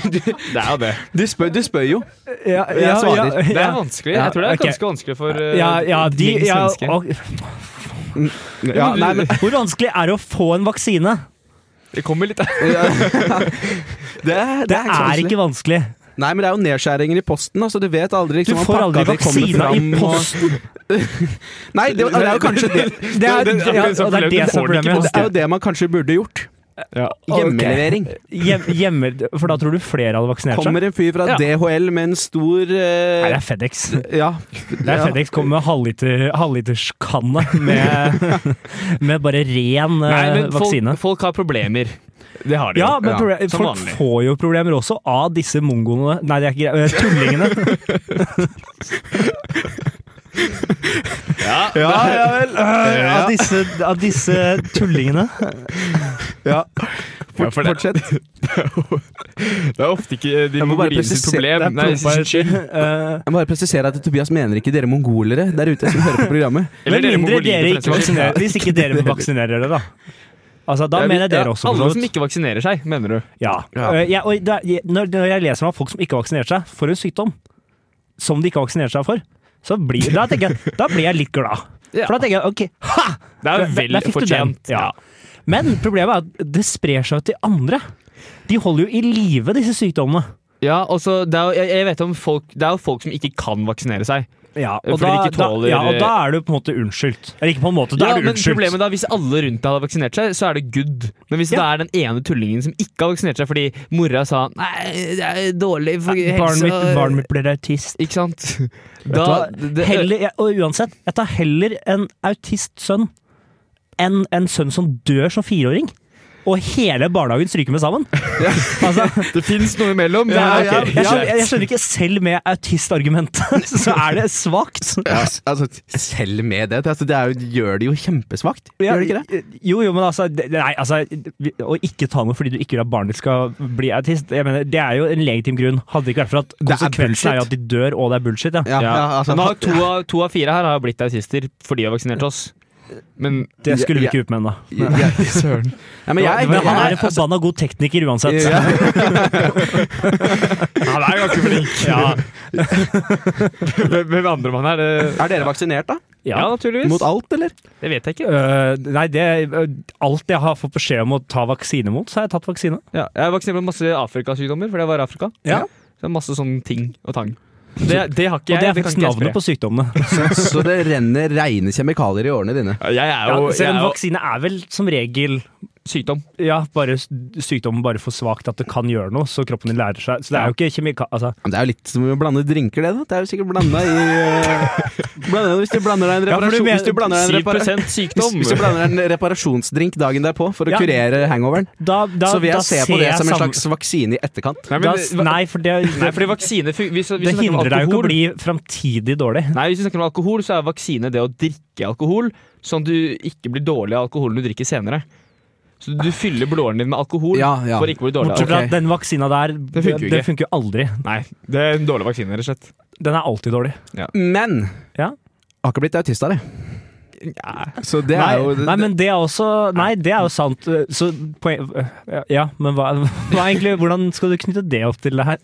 S7: Det er jo det.
S2: du, spør, du spør jo.
S5: [laughs] Ja,
S2: jeg svarer.
S7: Det er vanskelig. Jeg tror det er
S5: ok.
S7: ganske vanskelig for eh,
S5: ja, ja, de,
S7: minst
S5: ja,
S7: menneske.
S5: og,
S2: Ja, nei, men
S5: [laughs] Hvor vanskelig er det å få en vaksine?
S7: Det kommer litt
S2: [laughs] Det, er-
S5: Det
S2: det
S5: er ikke vanskelig.
S2: Nei, men det er jo nedskjæringer i posten, altså. Du vet aldri
S5: Du
S2: liksom, om
S5: får
S2: pakka
S5: aldri
S2: di kommer
S5: vaksina i
S2: fram, og-
S5: posten.
S2: Nei, det, det er jo
S5: [laughs]
S2: kanskje det
S5: Det er,
S7: det er
S5: ja,
S7: akkurat som
S5: og det, er
S7: forløpet.
S5: det som er
S7: Får du ikke
S5: problemet.
S2: Det er jo det man kanskje burde gjort. Hjemmelevering.
S5: Hjem, hjemme, for da tror du flere hadde vaksinert seg?
S2: Kommer en fyr fra
S7: Ja.
S2: DHL med en stor eh,
S5: Nei, det er FedEx.
S2: Ja.
S5: Det er FedEx kommer med halvliter, halvliterskanne
S7: [laughs]
S5: med, med bare ren eh,
S7: Nei, men
S5: vaksine.
S7: folk, folk har problemer. Det har de
S5: Ja,
S7: jo.
S5: men
S2: Ja,
S5: proble-
S7: som
S5: folk
S7: vanlig.
S5: får jo problemer også av disse mongoene Nei, det er ikke Eh, greit. Tullingene.
S7: Ja.
S5: [laughs] Ja, ja vel. Eh, Av disse, av disse tullingene.
S7: Ja, for det,
S2: Fortsett.
S7: det er ofte ikke eh, de
S2: Jeg må bare
S7: mongolene sitt problem.
S2: presisere- det er
S7: Nei, sin
S5: Bare-
S7: skyld.
S5: Eh,
S2: Jeg må bare presisere at Tobias mener ikke dere mongolere der ute som hører på programmet.
S7: Eller
S5: Med
S7: dere
S5: mindre
S7: mongolene,
S5: dere
S7: for
S5: ikke
S7: den saks skyld.
S5: vaksinerer Hvis ikke
S7: [laughs]
S5: dere vaksinerer dere, da. Altså, da
S7: Ja,
S5: mener jeg
S7: ja,
S5: dere også. for så
S7: Alle
S5: vidt.
S7: som ikke vaksinerer seg, mener du.
S5: Ja.
S2: Ja.
S5: Eh, jeg- og da, jeg, når, når jeg leser om at folk som ikke har vaksinert seg, for en sykdom som de ikke har vaksinert seg for, så blir, da, tenker jeg, da blir jeg litt glad.
S7: Ja.
S5: For da tenker jeg OK, ha!
S7: Det er jo
S5: Der-
S7: vel
S5: der fikk du den.
S7: fortjent.
S5: Ja. Men problemet er at det sprer seg til andre. De holder jo i live disse sykdommene.
S7: Ja, og så det er jo, jeg, jeg vet om folk, det er jo folk som ikke kan vaksinere seg.
S5: Ja,
S7: Fordi
S5: og, da,
S7: de ikke tåler- eh,
S5: da, ja, og da er du på en måte unnskyldt. Eller ikke på en måte, da
S7: Ja,
S5: er du
S7: men
S5: unnskyldt.
S7: problemet da, Hvis alle rundt deg hadde vaksinert seg, så er det good. Men hvis det er den ene tullingen som ikke har vaksinert seg fordi mora sa Nei, det er dårlig for
S5: Barnet
S7: helsa
S5: mitt, barnet mitt blir autist.
S7: Ikke sant?
S5: Da,
S7: Da, det,
S5: heller, jeg, og uansett, jeg tar heller en autistsønn enn en sønn som dør som fireåring. og hele barnehagen stryker med sammen. Altså,
S7: Det fins noe imellom. Det
S5: Ja,
S7: er,
S5: ja,
S7: ok.
S5: jeg, skjønner, jeg skjønner ikke, selv med autistargumentet, [laughs] så er det svakt.
S2: Altså, selv med det. Altså, det er jo, gjør det jo kjempesvakt. Gjør det ikke det?
S5: Jo, jo, men altså, det- nei, altså vi- Å ikke ta noe fordi du ikke vil at barnet ditt skal bli autist, jeg mener, det er jo en legitim grunn. Hadde det ikke vært for at
S2: er
S5: konsekvensen er, jo at de dør, og det er bullshit, ja.
S2: Ja, ja, altså,
S7: Men nå har to, av, to av fire her har jo blitt autister fordi de har vaksinert oss. Men
S5: Det skulle vi
S2: Ja,
S5: ikke
S2: ja.
S5: ut med ennå. [laughs]
S2: ja, ja, søren. Nei, men jeg,
S5: Men han er en
S2: jeg-
S5: forbanna god tekniker uansett. [laughs]
S2: Ja.
S7: han er ganske flink. Ja. Hvem hvem andre man er? Det,
S2: Er dere vaksinert, da?
S7: ja, naturligvis.
S2: Mot alt, eller?
S7: Det vet jeg ikke.
S5: Øh, nei, det, øh, alt jeg har fått beskjed om å ta vaksine mot, så har jeg tatt vaksine.
S7: Ja, jeg er vaksinert mot masse Afrikasykdommer fordi jeg var i Afrika.
S5: Ja.
S7: Så det er masse sånn ting og tang. Det, det har ikke
S5: Og det
S7: jeg.
S5: er faktisk navnet på sykdommene.
S2: Så det renner reine kjemikalier i årene dine.
S7: Jeg er
S5: [laughs] Ja,
S7: jo, jeg
S5: selv
S7: er
S5: om
S7: jo
S5: vaksine er vel som regel
S7: sykdom.
S5: ja, bare, s- sykdommen bare for svakt at det kan gjøre noe, så kroppen din lærer seg. Så det er jo ikke kjemika... Altså,
S2: Men Det er jo litt som å blande drinker, det. da Det er jo sikkert blanda i eh, blanda, Hvis du blander deg en
S5: Ja, for du
S2: reparasjon
S5: mener-
S2: Hvis du blander deg en,
S7: 7
S2: repara hvis,
S7: sykdom.
S2: hvis du blander deg en reparasjonsdrink dagen derpå for å
S5: Ja.
S2: kurere hangoveren,
S5: da, da,
S2: så vil
S5: da
S2: jeg se på
S5: ser
S2: det
S5: jeg
S2: som en
S5: sam-
S2: slags vaksine i etterkant.
S7: Nei,
S5: da,
S7: men,
S5: s- nei, for det,
S7: nei, fordi vaksine fun- hvis, hvis
S5: det
S7: vi snakker om
S5: hindrer deg jo ikke
S7: alkohol-
S5: å bli framtidig dårlig.
S7: Nei, hvis vi snakker om alkohol, så er vaksine det å drikke alkohol, sånn at du ikke blir dårlig av alkoholen du drikker senere. Så du fyller blodåren din med alkohol
S2: Ja, ja.
S7: for å ikke bli dårlig av alkohol.
S5: Bortsett fra
S2: ok.
S5: at den vaksina der, det
S7: funker jo
S5: det
S7: ikke.
S5: funker jo aldri.
S7: Nei, det er en dårlig vaksine, rett og slett.
S5: Den er alltid dårlig.
S2: Men
S5: Ja.
S2: jeg har ikke blitt autist av det. Så det
S5: Nei,
S2: er jo
S5: nei, men det er også Nei, det er jo sant. Så poeng... Ja, men hva, hva egentlig Hvordan skal du knytte det opp til det her?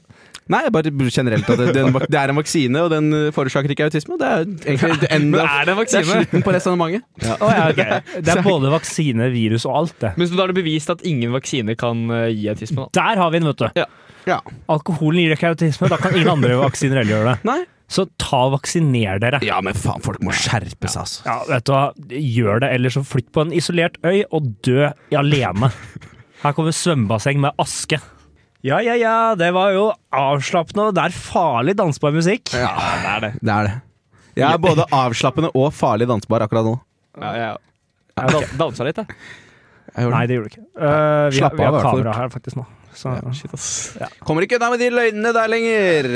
S2: Nei, bare generelt at det, den, det er en vaksine, og den eh, forårsaker ikke autisme. og Det er egentlig det enda
S7: er det en
S2: det er slutten på resonnementet.
S5: Å, ja, ok. Det er både vaksine, virus og alt, det.
S7: Men så da er det bevist at ingen vaksine kan eh, gi autisme, da.
S5: Der har vi den, vet du.
S7: Ja.
S2: Ja.
S5: Alkoholen gir ikke autisme. Da kan ingen andre vaksiner heller gjøre det.
S2: Nei.
S5: Så ta og vaksiner dere.
S2: Ja, men faen, folk må skjerpe seg, altså.
S5: Ja, vet du hva. Gjør det, eller så flytt på en isolert øy og dø i alene. Her kommer svømmebasseng med aske. Ja, ja, ja. Det var jo avslappende, og det er farlig dansbar musikk.
S2: Ja, det er det. Det er det. Jeg er både avslappende og farlig dansbar akkurat nå.
S7: Ja, ja. Jeg dan- dansa litt, jeg.
S2: Jeg gjør det.
S5: Nei, det gjorde du ikke. Eh, vi, har,
S2: Slapp
S5: vi
S2: av, i
S5: har
S2: hvert fall.
S5: kamera her faktisk nå. Så.
S7: Shit, ass.
S2: Kommer ikke unna med de løgnene der lenger.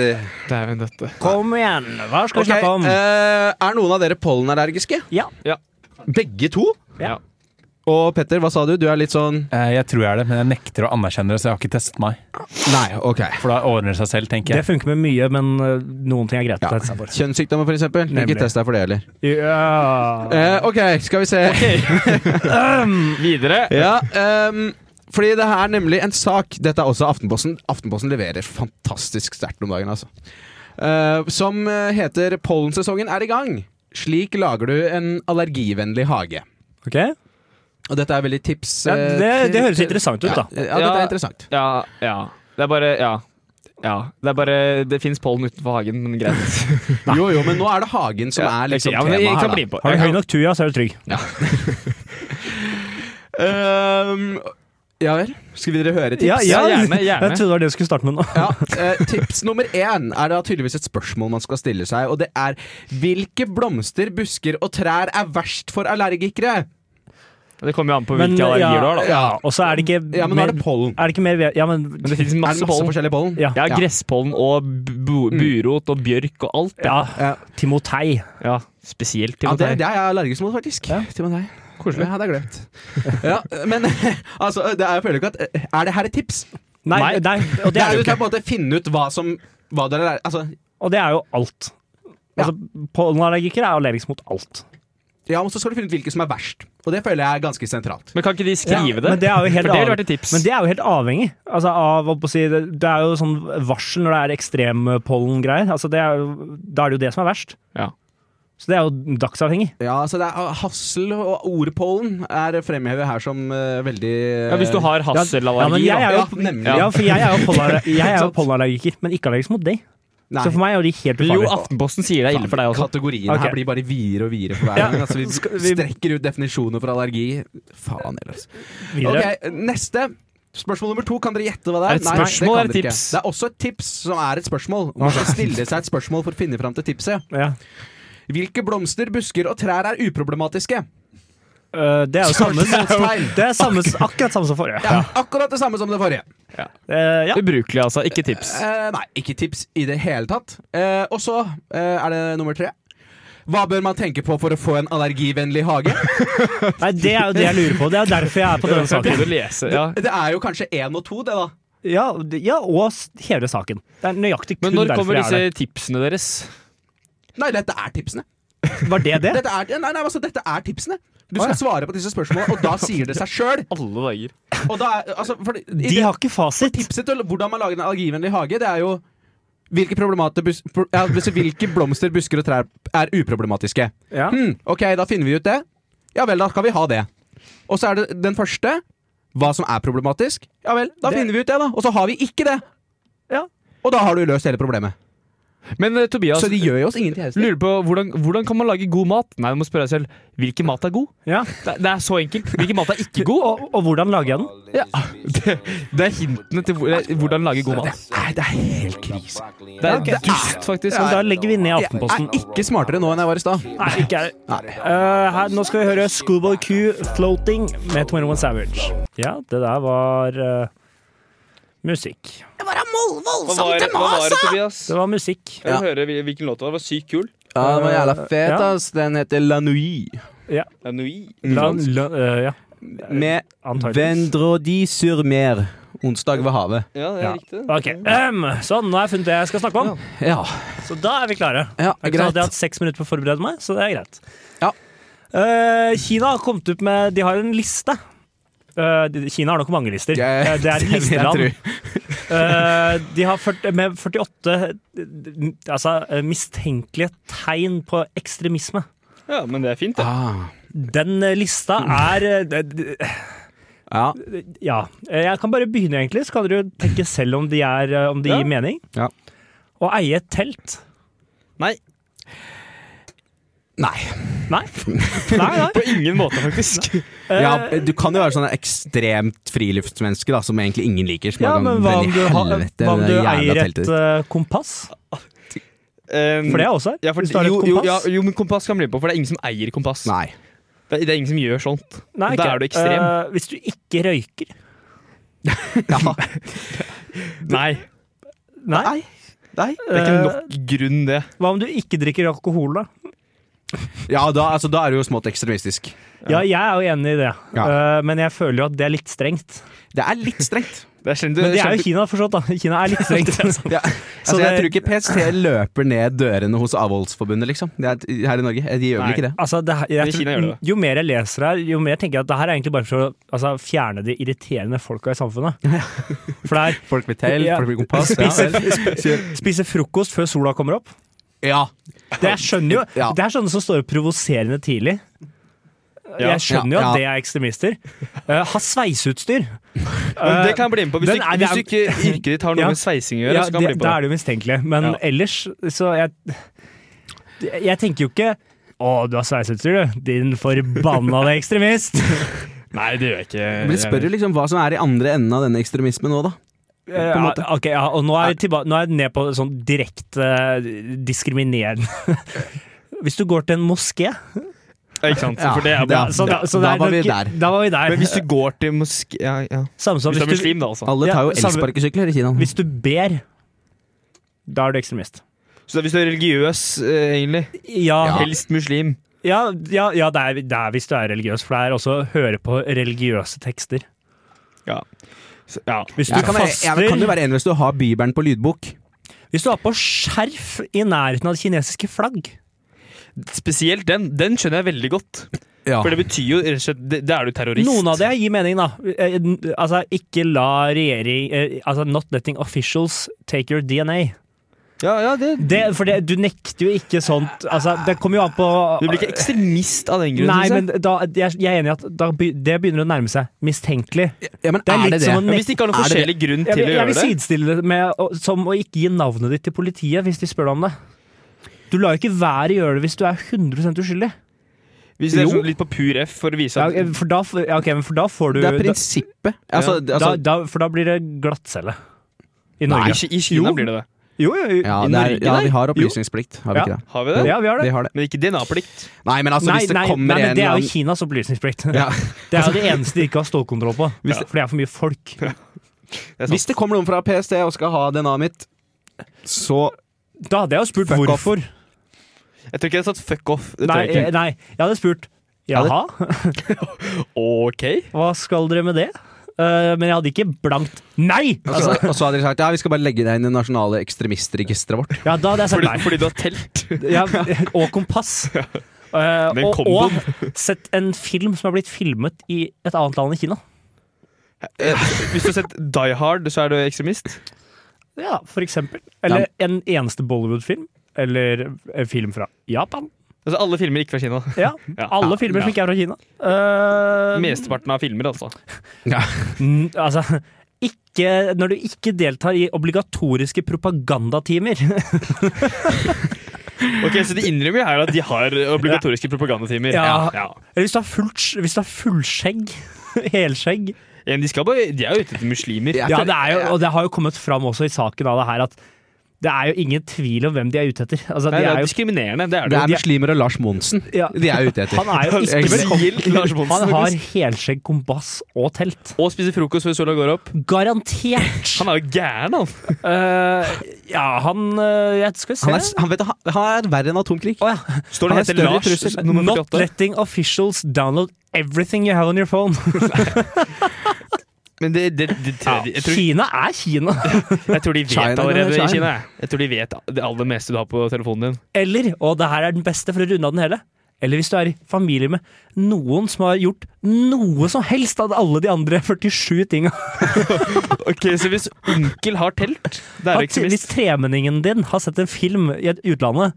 S7: Dæven døtte.
S5: Kom igjen! Hva skal vi
S2: Ok,
S5: snakke om?
S2: eh, er noen av dere pollenallergiske?
S5: Ja.
S7: Ja.
S2: Begge to?
S7: Ja.
S2: Og Petter, hva sa du? Du er litt sånn
S8: Eh, Jeg tror jeg er det, men jeg nekter å anerkjenne det, så jeg har ikke testet meg.
S2: Nei, ok.
S8: For da ordner det seg selv, tenker
S5: Det
S8: jeg.
S5: funker med mye, men eh, noen ting er greit å teste seg for.
S2: Kjønnssykdommer, for eksempel.
S5: Nemlig.
S2: Ikke test deg for det heller.
S5: Ja.
S2: Eh, ok, skal vi se.
S7: Videre.
S2: [laughs] Ja, ehm, fordi det her er nemlig en sak Dette er også Aftenposten. Aftenposten leverer fantastisk sterkt om dagen, altså. Eh, som eh, heter 'Pollensesongen er i gang'. Slik lager du en allergivennlig hage.
S5: Ok? Ja,
S2: Og dette er veldig tips eh,
S5: det, det
S2: til-
S5: høres
S2: til-
S5: interessant ut, da.
S2: Ja, ja, dette
S7: Ja.
S2: er interessant.
S7: Ja, ja. Det er bare Ja. Ja. Det er bare Det fins pollen utenfor hagen, men [laughs] greit.
S2: Jo, jo, men nå er det hagen som er liksom
S7: ja, men jeg,
S2: temaet
S7: jeg
S2: her,
S7: kan
S2: da.
S7: bli med på.
S5: Har
S7: Jeg
S5: du høy
S7: kan-
S5: nok tuja, så er du trygg.
S2: Ehm, ja vel. Skal vi dere høre tips?
S5: Ja, ja.
S7: eh, gjerne, gjerne.
S5: Jeg trodde det var det du skulle starte med nå.
S2: Ja, eh, Tips nummer én er da tydeligvis et spørsmål man skal stille seg, og det er hvilke blomster, busker og trær er verst for allergikere?
S7: Det kommer jo an på
S5: Men,
S7: hvilke allergier du har, da.
S5: ja, og så er det ikke
S2: Ja, men nå
S5: mer,
S2: er det pollen.
S5: er det ikke mer ved- Ja, men
S7: Men det fins
S2: Er det
S7: masse
S2: masse
S7: pollen.
S2: forskjellig pollen?
S5: Ja.
S7: Jeg har
S2: Ja.
S7: gresspollen og bu burot og bjørk og alt. Ja,
S5: ja, Timotei.
S7: ja spesielt
S2: Ja, det,
S7: Timotei.
S2: det er jeg allergisk mot, faktisk.
S5: Ja.
S2: Til og med deg. Koselig. Det hadde jeg glemt. [laughs] Ja, men [laughs] altså, det er, jeg føler ikke at Er det her et tips?
S5: Nei,
S7: Nei.
S5: nei, og det
S2: Det
S5: er
S2: er
S5: jo ikke.
S2: jo til å på en måte finne ut hva som hva dere er, altså,
S5: Og det er jo alt.
S2: Ja.
S5: Altså, Pollenallergikere er allergisk mot alt.
S2: ja, men så skal du finne ut hvilke som er verst. Og det føler jeg er ganske sentralt.
S7: Men kan ikke de skrive
S5: Ja,
S7: det?
S5: Men det er jo helt
S7: For det ville
S5: av-
S7: vært et tips.
S5: Men det er jo helt avhengig altså, av hva på å si, det, det er jo sånn varsel når det er ekstrempollengreier. Altså, det er jo- da er det jo det som er verst.
S7: Ja.
S5: Så det er jo dagsavhengig.
S2: Ja, så det er Hassel og ordpollen er fremhevet her som eh, veldig
S7: ja, hvis du har
S5: Ja, men
S7: hasselallergi,
S5: jeg er
S7: da.
S5: jo,
S2: Ja, nemlig.
S5: ja, for jeg er jo pollenaller-
S2: [laughs]
S5: jeg er jo pollenallergiker, men ikke allergisk mot deg.
S2: Nei.
S5: Så for meg er de helt
S7: Jo,
S5: ufarlige.
S7: Aftenposten sier det er ille for deg også.
S2: Kategorien
S5: Ok.
S2: her blir bare videre og videre for hver
S5: Ja.
S2: gang. Altså, vi
S5: Skal vi-
S2: strekker ut definisjoner for allergi. Faen ellers.
S5: Videre.
S2: Ok, neste. Spørsmål nummer to. Kan dere gjette hva det
S7: Er
S2: er?
S7: det et spørsmål,
S2: Nei,
S7: eller
S2: det, kan dere ikke.
S7: tips?
S2: det er også et tips som er et spørsmål. Man skal stille seg et spørsmål for å finne fram til tipset.
S5: Ja.
S2: Hvilke blomster, busker og trær er uproblematiske?
S5: Eh, det er jo samme som
S2: Spørsmålstegn.
S5: Det er samme, akkurat samme som forrige.
S2: Ja, akkurat det samme som det forrige.
S5: Eh, ja.
S7: Ubrukelig, altså. Ikke tips.
S2: Eh, nei, ikke tips i det hele tatt. Eh, og så eh, er det nummer tre. Hva bør man tenke på for å få en allergivennlig hage?
S5: Nei, det er jo det jeg lurer på. Det er jo derfor jeg er på denne
S7: Jeg
S5: saken.
S7: prøvde å lese, ja.
S2: Det er jo kanskje én og to, det, da.
S5: Ja, det- ja og s- hele saken. Det er nøyaktig kun
S7: Men når
S5: derfor
S7: kommer
S5: jeg
S7: disse
S5: er der.
S7: tipsene deres?
S2: Nei, dette er tipsene.
S5: Var det det?
S2: Dette er, nei, nei, altså, dette er tipsene. Du skal svare på disse spørsmålene, og
S5: [laughs]
S2: da sier det seg sjøl.
S7: Alle dager.
S2: Altså, for i
S5: De
S2: det-
S5: har ikke fasit.
S2: tipset til hvordan man lager en allergivennlig hage, det er jo hvilke, problemati- bus- pro- ja, altså, hvilke blomster, busker og trær er uproblematiske.
S5: Ja.
S2: Hm, ok, da finner vi ut det. Ja vel, da skal vi ha det. Og så er det den første. Hva som er problematisk. Ja vel, da
S5: Det-
S2: finner vi ut det, da. Og så har vi ikke det.
S5: Ja.
S2: Og da har du løst hele problemet.
S7: Men eh, Tobias,
S2: Så de
S5: altså,
S2: gjør jo oss ingen tjeneste.
S7: lurer på hvordan, hvordan kan man lage god mat? Nei, du må spørre deg selv. Hvilken mat er god?
S5: Ja.
S7: Det, det er så enkelt. Hvilken mat er ikke god?
S5: Og, og hvordan lager jeg den?
S7: Ja. [laughs] Det, det er hintene til hvor- eh, hvordan lage god mat.
S2: Nei, det er helt krise.
S7: Det er dust, faktisk.
S5: Men da legger vi den ned i
S2: Jeg er
S5: Aftenposten.
S2: ikke smartere nå enn jeg var i stad.
S5: Nei, ikke jeg. Eh, her, nå skal vi høre Schoolboy Q 'Floating' med 21 Savage. Ja, det der var eh, musikk.
S6: Hva var, hva var det, Tobias?
S5: Det var musikk.
S6: Jeg vil
S2: Ja.
S6: høre hvil- hvilken låt det var. Det var sykt kul.
S2: Ja, den var jævla fet,
S5: Ja.
S2: ass. Den heter La Nuit.
S6: Det er Nui.
S5: La, la, eh, ja,
S2: Med
S5: antageligvis.
S2: Vendredi sur mer. Onsdag ved havet.
S6: Ja, det er
S5: Ja.
S6: riktig.
S5: Ok, ehm, Sånn, nå har jeg funnet det jeg skal snakke om.
S2: Ja,
S5: Så da er vi klare.
S2: ja
S5: Så hadde jeg
S2: greit.
S5: hatt seks minutter på å forberede meg, så det er greit.
S2: Ja.
S5: Eh, Kina har kommet ut med De har en liste. Eh, de- Kina har nok mange lister.
S2: Jeg-
S5: Eh, det er
S2: [laughs] det
S5: et
S2: vil jeg
S5: listeland. Eh, de har ført- med 48 altså, eh, mistenkelige tegn på ekstremisme.
S6: Ja, men det er fint, det.
S2: Ah,
S5: Den eh, lista er eh, d- d-
S2: ja.
S5: Ja. Eh, Jeg kan bare begynne, egentlig, så kan dere jo tenke selv om de, er, eh, om de
S6: Ja.
S5: gir mening.
S2: Ja.
S5: Å eie et telt.
S6: Nei.
S2: Nei.
S5: Nei. nei,
S6: [laughs]
S5: nei.
S7: På ingen måte, faktisk.
S2: Ja,
S5: Eh,
S2: du kan jo være sånn ekstremt friluftsmenneske da, som egentlig ingen liker. Som
S5: ja,
S2: bare
S5: men
S2: kan-
S5: hva om
S2: i
S5: du, har,
S2: helvete,
S5: hva om
S2: det
S5: du
S2: der jævla
S5: eier et
S2: teltet.
S5: eh, kompass?
S6: Um,
S5: For det er også her.
S6: ja, for,
S5: Hvis du har et
S6: jo, jo, ja,
S5: kompass.
S6: jo, men kompass kan bli på, for det er ingen som eier kompass.
S2: Nei.
S6: Det, er- det er ingen som gjør sånt.
S5: Nei,
S6: Da
S5: ikke.
S6: er du ekstrem.
S5: Eh, hvis du ikke røyker
S6: Nei.
S5: Nei.
S6: Det er
S7: Eh.
S6: ikke nok grunn, det.
S5: Hva om du ikke drikker alkohol, da?
S2: Ja, da, altså, da er du jo smått ekstremistisk.
S5: Ja, jeg er jo enig i det,
S2: Ja.
S5: Eh, men jeg føler jo at det er litt strengt.
S2: Det er litt strengt.
S6: Det er sjelden du
S5: Men det er jo
S6: sjelden-
S5: Kina, forstått, da. Kina er litt
S6: [laughs]
S5: strengt.
S2: [laughs] Ja.
S5: Så
S2: Altså, jeg tror
S5: det-
S2: ikke PST løper ned dørene hos Avholdsforbundet, liksom. Det er, her i Norge. Eh, De gjør vel
S6: Nei.
S2: ikke det.
S5: Altså, det, her-
S6: Men
S5: jeg,
S6: i Kina gjør
S5: tror,
S6: det.
S5: jo mer jeg leser her, jo mer tenker jeg at det her er egentlig bare for å altså, fjerne de irriterende folka i samfunnet. For det er
S2: Folk med telt,
S5: Ja.
S2: folk med
S7: [laughs]
S2: kompass.
S5: Spise-
S2: Ja, vel.
S5: spise frokost før sola kommer opp.
S2: ja.
S5: Det jeg
S6: [laughs]
S5: skjønner jo
S2: Ja.
S5: Det er sånne som står og provoserende tidlig. Jeg skjønner jo
S2: Ja,
S5: at
S2: ja.
S5: det er ekstremister. Eh, ha sveiseutstyr.
S6: Men
S5: Eh,
S6: det kan jeg bli med på. Hvis,
S5: Den
S6: du,
S5: er-
S6: hvis du ikke yrket ditt har noe
S5: Ja.
S6: med sveising å gjøre,
S5: Eh, ja,
S6: så kan jeg
S5: det,
S6: bli
S5: da
S6: på
S5: er
S6: det.
S5: det jo mistenkelig. Men
S6: Ja.
S5: ellers, så jeg Jeg tenker jo ikke å, du har sveiseutstyr, du. Din forbanna ekstremist.
S6: [laughs] Nei, det gjør jeg ikke.
S2: Men spør jo liksom hva som er i andre enden av denne ekstremismen nå, da. en
S5: Eh, Ja,
S2: måte.
S5: ok, ja, og nå er, jeg tilba- nå er jeg ned på sånn direkte eh, diskriminerende. Hvis du går til en moské
S6: Ikke sant?
S2: Ja,
S6: For det er
S2: det er-
S6: bra.
S5: så
S2: da-
S5: så
S2: da
S5: det er
S2: var vi
S5: nok-
S2: der.
S5: Da var vi der.
S6: Men hvis du går til moské... Ja, ja.
S5: Samme som
S6: Hvis
S5: hvis
S6: du er
S5: du,
S6: muslim, da, altså.
S2: Alle
S5: Ja,
S2: tar jo
S5: samme-
S2: elsparkesykler i Kina.
S5: hvis du ber, da er du ekstremist.
S6: Så hvis du er religiøs, eh, egentlig.
S5: Ja, ja.
S6: Helst muslim.
S5: ja, ja, det, er, det er hvis du er religiøs, for det er også å høre på religiøse tekster.
S6: Så, ja.
S5: Hvis du
S2: Jeg kan, være-
S5: faster,
S2: jeg kan jo være enig hvis du har Bibelen på lydbok.
S5: hvis du har på skjerf i nærheten av kinesiske flagg
S6: Spesielt den. Den skjønner jeg veldig godt.
S2: Ja.
S6: For det betyr jo rett og slett det- Da er du terrorist.
S5: Noen av det gir mening, da. Eh, n- Altså, ikke la regjering eh, Altså, not letting officials take your DNA.
S6: Ja, ja, det
S5: Det, for det, du nekter jo ikke sånt Altså, det kommer jo an på
S6: Du blir ikke ekstremist av den grunn,
S5: Nei,
S6: synes jeg.
S5: men da, jeg, jeg er enig i at da, be- det begynner å nærme seg mistenkelig.
S2: Ja, men
S5: Det er
S2: er,
S5: litt
S2: det det?
S5: som å
S6: Men hvis det ikke har noen
S2: Er det
S6: forskjellig grunn
S5: Jeg
S6: til
S5: vil,
S6: å
S5: jeg vil
S6: gjøre det
S5: sidestille det med å, som å ikke gi navnet ditt til politiet hvis de spør deg om det. Du lar jo ikke være å gjøre det hvis du er 100 uskyldig.
S6: Hvis det er
S2: Jo.
S6: sånn litt på pur F for å vise
S5: Ja, eh,
S6: at
S5: for, da, f- ja, ok, men for da får du
S2: Det er
S5: da,
S2: prinsippet. Altså,
S5: da,
S2: altså,
S5: da, For da blir det glattcelle i
S6: Nei,
S5: Norge.
S6: i Ki- i Kina
S5: Jo.
S6: blir det det.
S5: Jo, jo, jo.
S2: Ja,
S6: I
S2: det er,
S6: Norge,
S2: ja,
S6: nei?
S2: vi har opplysningsplikt, har vi
S5: Ja.
S2: ikke det?
S6: Har vi det?
S5: Ja, vi har det.
S2: Vi har det.
S6: Men ikke DNA-plikt.
S2: Nei, men altså,
S5: nei,
S2: hvis det
S5: nei,
S2: kommer
S5: nei, men
S2: en
S5: det er
S2: eller
S5: jo
S2: annen
S5: Kinas opplysningsplikt.
S2: Ja.
S5: Det er jo det eneste de ikke har stålkontroll på.
S2: Hvis-
S5: For det er for mye folk.
S2: [laughs]
S6: Det er sant.
S2: Hvis det kommer noen fra PST og skal ha DNA-et mitt, så
S5: Da hadde jeg jo spurt
S2: Fuck off.
S5: hvorfor.
S6: Jeg tror ikke jeg hadde satt fuck off. Det
S5: Nei, eh,
S6: tror jeg ikke.
S5: nei, jeg hadde spurt jaha,
S6: OK.
S5: hva skal dere med det? Eh, men jeg hadde ikke blankt nei!
S2: og så, Altså, og så hadde de sagt ja, vi skal bare legge deg inn i det nasjonale ekstremistregisteret vårt.
S5: Ja, da hadde jeg sagt
S6: Fordi,
S5: nei.
S6: fordi du har telt.
S5: Ja, og kompass. Eh,
S6: Men
S5: og,
S6: komboen.
S5: og sett en film som har blitt filmet i et annet land enn Kina.
S6: Eh, Hvis du har sett Die Hard, så er du ekstremist.
S5: Ja, for eksempel. Eller en eneste Bollywood-film. Eller en film fra Japan.
S6: Altså Alle filmer ikke fra Kina.
S5: Ja,
S6: Ja.
S5: Alle
S6: Ja,
S5: filmer
S6: ja.
S5: som ikke er fra Kina. Eh,
S6: Mesteparten av filmer, altså. Mm.
S5: n- altså ikke, Når du ikke deltar i obligatoriske propagandatimer. [laughs]
S6: Ok, Så de innrømmer jo her at de har obligatoriske propagandatimer.
S5: Ja.
S6: Ja.
S5: Eller hvis du har fullt, hvis du har fullskjegg. [laughs] Helskjegg.
S6: Ja, men De, skal bare, de er jo ute etter muslimer.
S5: Ja, det er jo, og det har jo kommet fram også i saken av det her at det er jo ingen tvil om hvem de er ute etter. Altså,
S6: Nei,
S5: de
S6: det er
S5: er jo,
S6: diskriminerende. Det er
S2: Det
S6: det
S2: er muslimer og Lars Monsen
S5: Ja.
S2: de er ute etter.
S5: han er jo ikke
S2: Ikke
S5: velkommen. [laughs]
S6: Spesielt Lars Monsen.
S5: Han har
S6: faktisk.
S5: helskjegg, kompass og telt.
S6: Og spiser frokost før sola går opp.
S5: Garantert!
S6: Han er jo gæren, han.
S5: Eh, ja, han eh, Jeg skal se.
S2: Han er, han vet, han- han er verre enn atomkrig.
S5: Å ja.
S2: Han er
S6: Står det han heter
S2: større
S6: Lars
S2: trussel.
S6: nummer
S5: Not
S6: 48?
S5: letting officials download everything you have on your phone.
S6: Men det, det, det, jeg, tror,
S5: Kina er Kina.
S6: jeg tror de vet
S2: China,
S6: allerede
S2: China.
S6: i Kina. jeg. Jeg tror de vet det aller meste du har på telefonen din.
S5: Eller, og det her er den beste for å runde av den hele Eller hvis du er i familie med noen som har gjort noe som helst av alle de andre 47 tinga.
S6: [laughs] Ok, Så hvis onkel har telt, det er
S5: At
S6: jo
S5: Hvis
S6: ekstremist.
S5: tremenningen din har sett en film i et utlandet,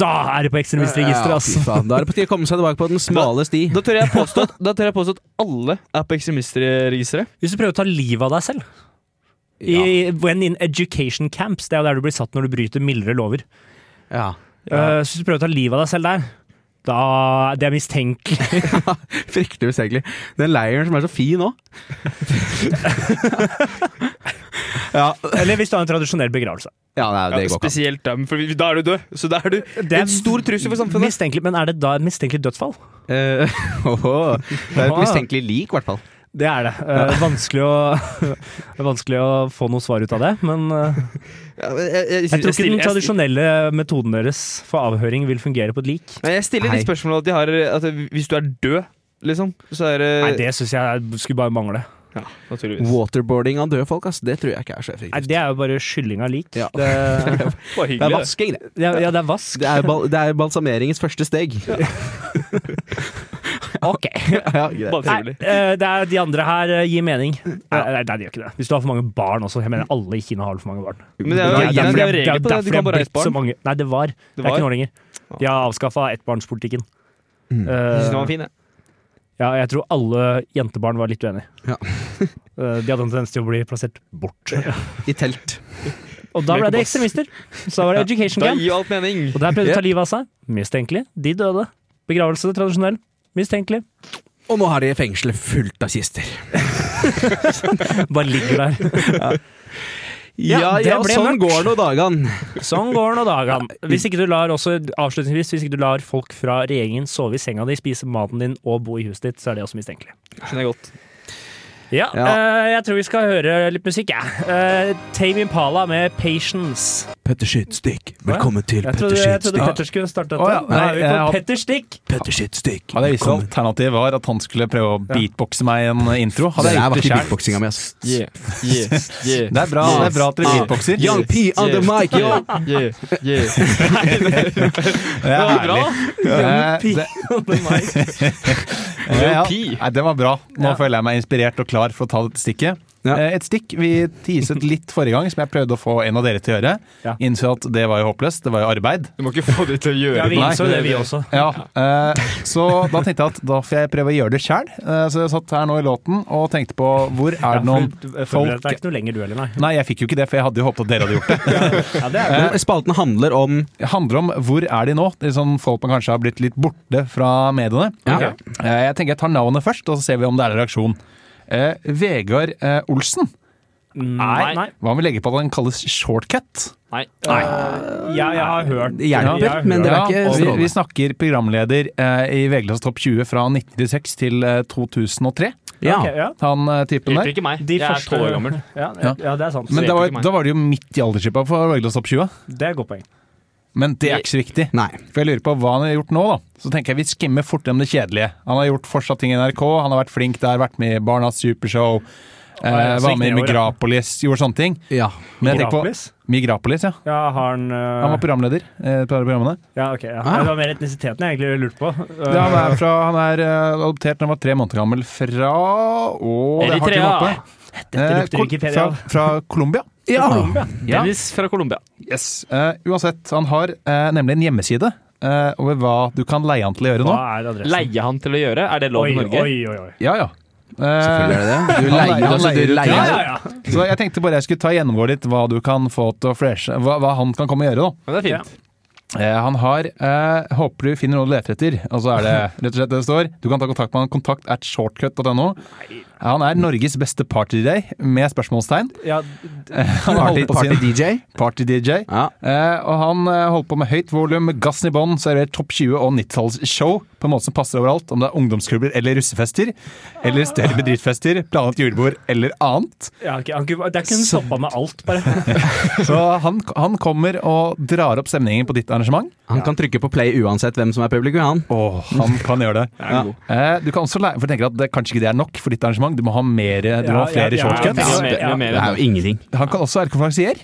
S5: da er det på ekstremistregisteret, altså.
S2: Ja, fy
S5: ass.
S2: faen. Da er det på tide å komme seg tilbake på den smale sti.
S6: Da tør jeg påstå at, da tør jeg påstå at alle er på ekstremistregisteret.
S5: Hvis du prøver å ta livet av deg selv i
S2: Ja.
S5: When in education camps, det er jo der du blir satt når du bryter mildere lover.
S2: Ja.
S5: Eh, så hvis du prøver å ta livet av deg selv der, da Det er mistenkelig. [laughs]
S2: Fryktelig usegelig. Den leiren som er så fin òg. ja,
S5: Eller hvis du har en tradisjonell begravelse.
S2: ja nei, det
S6: Ja,
S2: går ikke. an.
S6: spesielt da, for da er du død. Så da er du
S5: Det er
S6: en stor trussel for samfunnet.
S5: Mistenkelig, men er det da et mistenkelig dødsfall?
S2: Eh, [laughs] åhå. det er et mistenkelig lik, i hvert fall.
S5: Det er det. Eh, vanskelig, å, [laughs] det er vanskelig å få noe svar ut av det, men eh,
S6: Ja, men jeg, jeg,
S5: jeg tror ikke den
S6: stiller- jeg-
S5: tradisjonelle metoden deres for avhøring vil fungere på et lik.
S6: Nei, jeg stiller
S2: Nei.
S6: de spørsmålene at de har at Hvis du er død, liksom, så er det
S5: Nei, det syns jeg skulle bare mangle.
S6: Ja, naturligvis.
S2: Waterboarding av døde folk, ass. Det tror jeg ikke er så
S5: Nei,
S2: effektivt.
S5: det er jo bare skylling av lik.
S2: Ja. [laughs]
S5: Det,
S2: Det er
S6: Bare hyggelig. Det
S2: vasking, det.
S5: det er, ja, det er vask.
S2: Det er, bal det er balsameringens første steg.
S6: [laughs]
S5: Ok.
S2: [laughs] Ja, greit.
S6: Bare
S5: Nei,
S6: trivelig.
S5: eh, det er de andre her eh, gir mening. Nei, nei, nei, de gjør ikke det. Hvis du har for mange barn også. Jeg mener alle i Kina har for mange barn.
S6: Men det er jo
S5: Det er
S6: det er
S5: derfor
S6: jo
S5: jeg- det er
S6: regler på
S5: derfor
S6: det. Du
S5: jeg
S6: kan
S5: har
S6: bare ha ett
S5: blitt så
S6: barn.
S5: mange. Nei, det var. Det, er
S6: var?
S5: ikke nå lenger. De har avskaffa ettbarnspolitikken.
S2: Mm.
S6: Jeg synes den
S5: Eh,
S6: var fin, jeg.
S5: ja, jeg tror alle jentebarn var litt uenige.
S2: Ja.
S5: [laughs] Eh, de hadde en tendens til å bli plassert bort.
S2: I telt.
S5: Og da ble det ekstremister. Så
S6: [laughs]
S5: var det education
S6: Da
S5: camp.
S6: gir jo alt mening.
S5: Og der prøvde de å ta livet av seg. Mistenkelig. De døde. Begravelse tradisjonell. Mistenkelig.
S2: Og nå har de fengselet fullt av kister.
S5: Bare ligger der.
S2: Ja,
S5: det
S2: ja,
S5: ble
S2: sånn
S5: mørkt.
S2: går nå dagene.
S5: [laughs] Sånn går nå dagene. Hvis ikke du lar også avslutningsvis, hvis ikke du lar folk fra regjeringen sove i senga di, spise maten din og bo i huset ditt, så er det også mistenkelig.
S6: Skjønner jeg godt.
S5: Ja,
S2: Ja.
S5: eh, jeg tror vi skal høre litt musikk, jeg. Eh, Tame Impala med 'Patience'.
S2: Petter Skytstykk,
S5: Velkommen
S2: til
S5: Jeg trodde, jeg trodde Petter skulle starte dette.
S8: Å, ja.
S5: Nå er vi
S8: Nei, jeg
S5: på
S8: har-
S5: Petter Stikk. [laughs]
S2: Petter Skytstykk.
S8: Hadde jeg visst at alternativet var at han skulle prøve å beatboxe meg en intro, hadde jeg
S2: var
S8: gjort det
S2: ikke
S8: sjøl.
S2: beatboxinga mi, ass.
S7: Yeah, yeah,
S5: [laughs]
S7: yeah.
S8: Det er bra, det er bra at dere beatboxer.
S2: Young P on the mic, [laughs] yo!
S7: Yeah, yeah.
S8: Det er
S6: Det var bra.
S8: herlig. Eh, det- Eh, ja. Nei, den var bra. Nå føler jeg meg inspirert og klar for å ta dette stikket.
S2: Ja.
S8: Eh, Et stikk vi teaset litt forrige gang, som jeg prøvde å få en av dere til å gjøre.
S5: Ja.
S8: Innså at det var jo håpløst. Det var jo arbeid.
S6: Du må ikke få det til å gjøre
S5: Ja, vi
S8: Nei.
S5: innså det, vi også.
S8: Ja, eh, så da tenkte jeg at da får jeg prøve å gjøre det sjæl. Eh, så jeg satt her nå i låten og tenkte på hvor er det noen
S5: Folk...
S8: folk-
S5: Det er ikke noe lenger du heller, nei.
S8: Nei, jeg fikk jo ikke det, for jeg hadde jo håpet at dere hadde gjort det.
S5: Ja, det er
S2: Men Spalten handler om
S8: Det handler om hvor er de nå? Det er sånn folk man kanskje har blitt litt borte fra mediene.
S2: Ja.
S8: Eh, Jeg tenker jeg tar navnet først, og så ser vi om det er en reaksjon. Eh, Vegard eh, Olsen
S5: Mm, Nei. Nei.
S8: Hva om vi legger på at den kalles shortcut?
S7: Nei.
S5: Nei. Ja, jeg har hørt
S2: Det hjelper,
S5: jeg har hørt-
S2: men det er ikke
S8: og vi,
S2: strålende.
S8: vi snakker programleder eh, i VG-klasse Topp 20 fra 1996 til eh, 2003.
S2: Ja.
S5: Ok, ja.
S8: Han eh, typen
S7: Hjelper
S8: der.
S7: ikke meg.
S5: De
S7: jeg
S5: første-
S7: er tolv år gammel.
S5: Ja,
S8: Ja.
S5: ja, ja, det er sant.
S8: Men
S7: det
S8: da
S7: hjelper
S8: var,
S7: ikke meg.
S8: da var det jo midt i aldersskipet for VG-klasse Topp 20.
S5: Det er et godt poeng.
S8: Men det er ikke så viktig.
S2: Nei.
S8: For jeg lurer på hva han har gjort nå, da. Så tenker jeg vi skimmer fort gjennom det kjedelige. Han har gjort fortsatt ting i NRK, han har vært flink der, vært med i Barnas Supershow, eh,
S5: ja, så
S8: var
S5: gikk
S8: med i
S5: nedover, ja.
S8: Migrapolis, gjorde sånne ting.
S2: Ja.
S8: Men jeg tenker på
S5: Gratis?
S8: Migrapolis, ja.
S5: Ja, har han øh,
S8: Han var programleder eh, på programmene.
S5: Ja, ok. Ja.
S2: Ah.
S5: Det var mer etnisiteten jeg egentlig lurte på. Øh,
S8: Ja, han er, fra, han er eh, adoptert da han var tre måneder gammel fra Å, det har til
S7: Eritrea.
S8: oppe. Eh,
S5: lukter
S8: Col-
S5: Wikipedia
S8: fra,
S5: av.
S8: fra Colombia.
S2: Ja.
S8: Ja.
S7: Dennis fra Colombia.
S8: Yes. Eh, uansett, han har eh, nemlig en hjemmeside eh, over hva du kan leie han til å gjøre nå.
S5: Hva er adressen?
S7: Leie han til å gjøre? Er det lov
S5: Oi,
S7: i Norge?
S5: oi, oi, oi.
S8: Ja, ja. Eh,
S2: Selvfølgelig er det det. Du
S8: Han leier-
S2: leier,
S8: han
S2: altså,
S8: leier
S2: du
S8: ut,
S5: Ja,
S2: leier.
S5: ja, ja.
S8: så jeg tenkte bare jeg skulle ta gjennomgå litt hva du kan få til å freshe, hva, hva han kan komme og gjøre. da.
S7: Men det er fint.
S8: Eh, han har eh, 'håper du finner noe du leter etter', og så er det [laughs] rett og slett det det står. Du kan ta kontakt med han kontakt at shortcut.no. Han er Norges beste party-day, med spørsmålstegn.
S5: ja.
S8: [laughs] Han har holdt på å si [laughs] en
S2: Party-DJ.
S8: party-DJ.
S2: Ja.
S8: Eh, og han eh, holder på med høyt volum, med gassen i bånn, serverer topp 20 og 90-tallsshow på en måte som passer overalt, om det er ungdomsklubber eller russefester, eller større bedriftsfester, planlagt julebord eller annet.
S5: ja ok. Han kunne- Det er ikke hun stoppa med alt, bare.
S8: Så han, han kommer og drar opp stemningen på ditt arrangement.
S2: Han kan trykke på play uansett hvem som er publikum, han.
S8: Åh, han kan
S5: [laughs]
S8: gjøre det.
S2: Ja.
S8: Eh, du kan også lære, for jeg tenker at det, kanskje ikke det er nok for ditt arrangement, du må ha, mer, du må
S5: Ja,
S8: ha flere
S5: ja, ja,
S8: shortcuts.
S5: ja,
S7: Det er mer
S2: Det er
S7: enn
S2: jo ingenting.
S8: Han kan også være konferansier.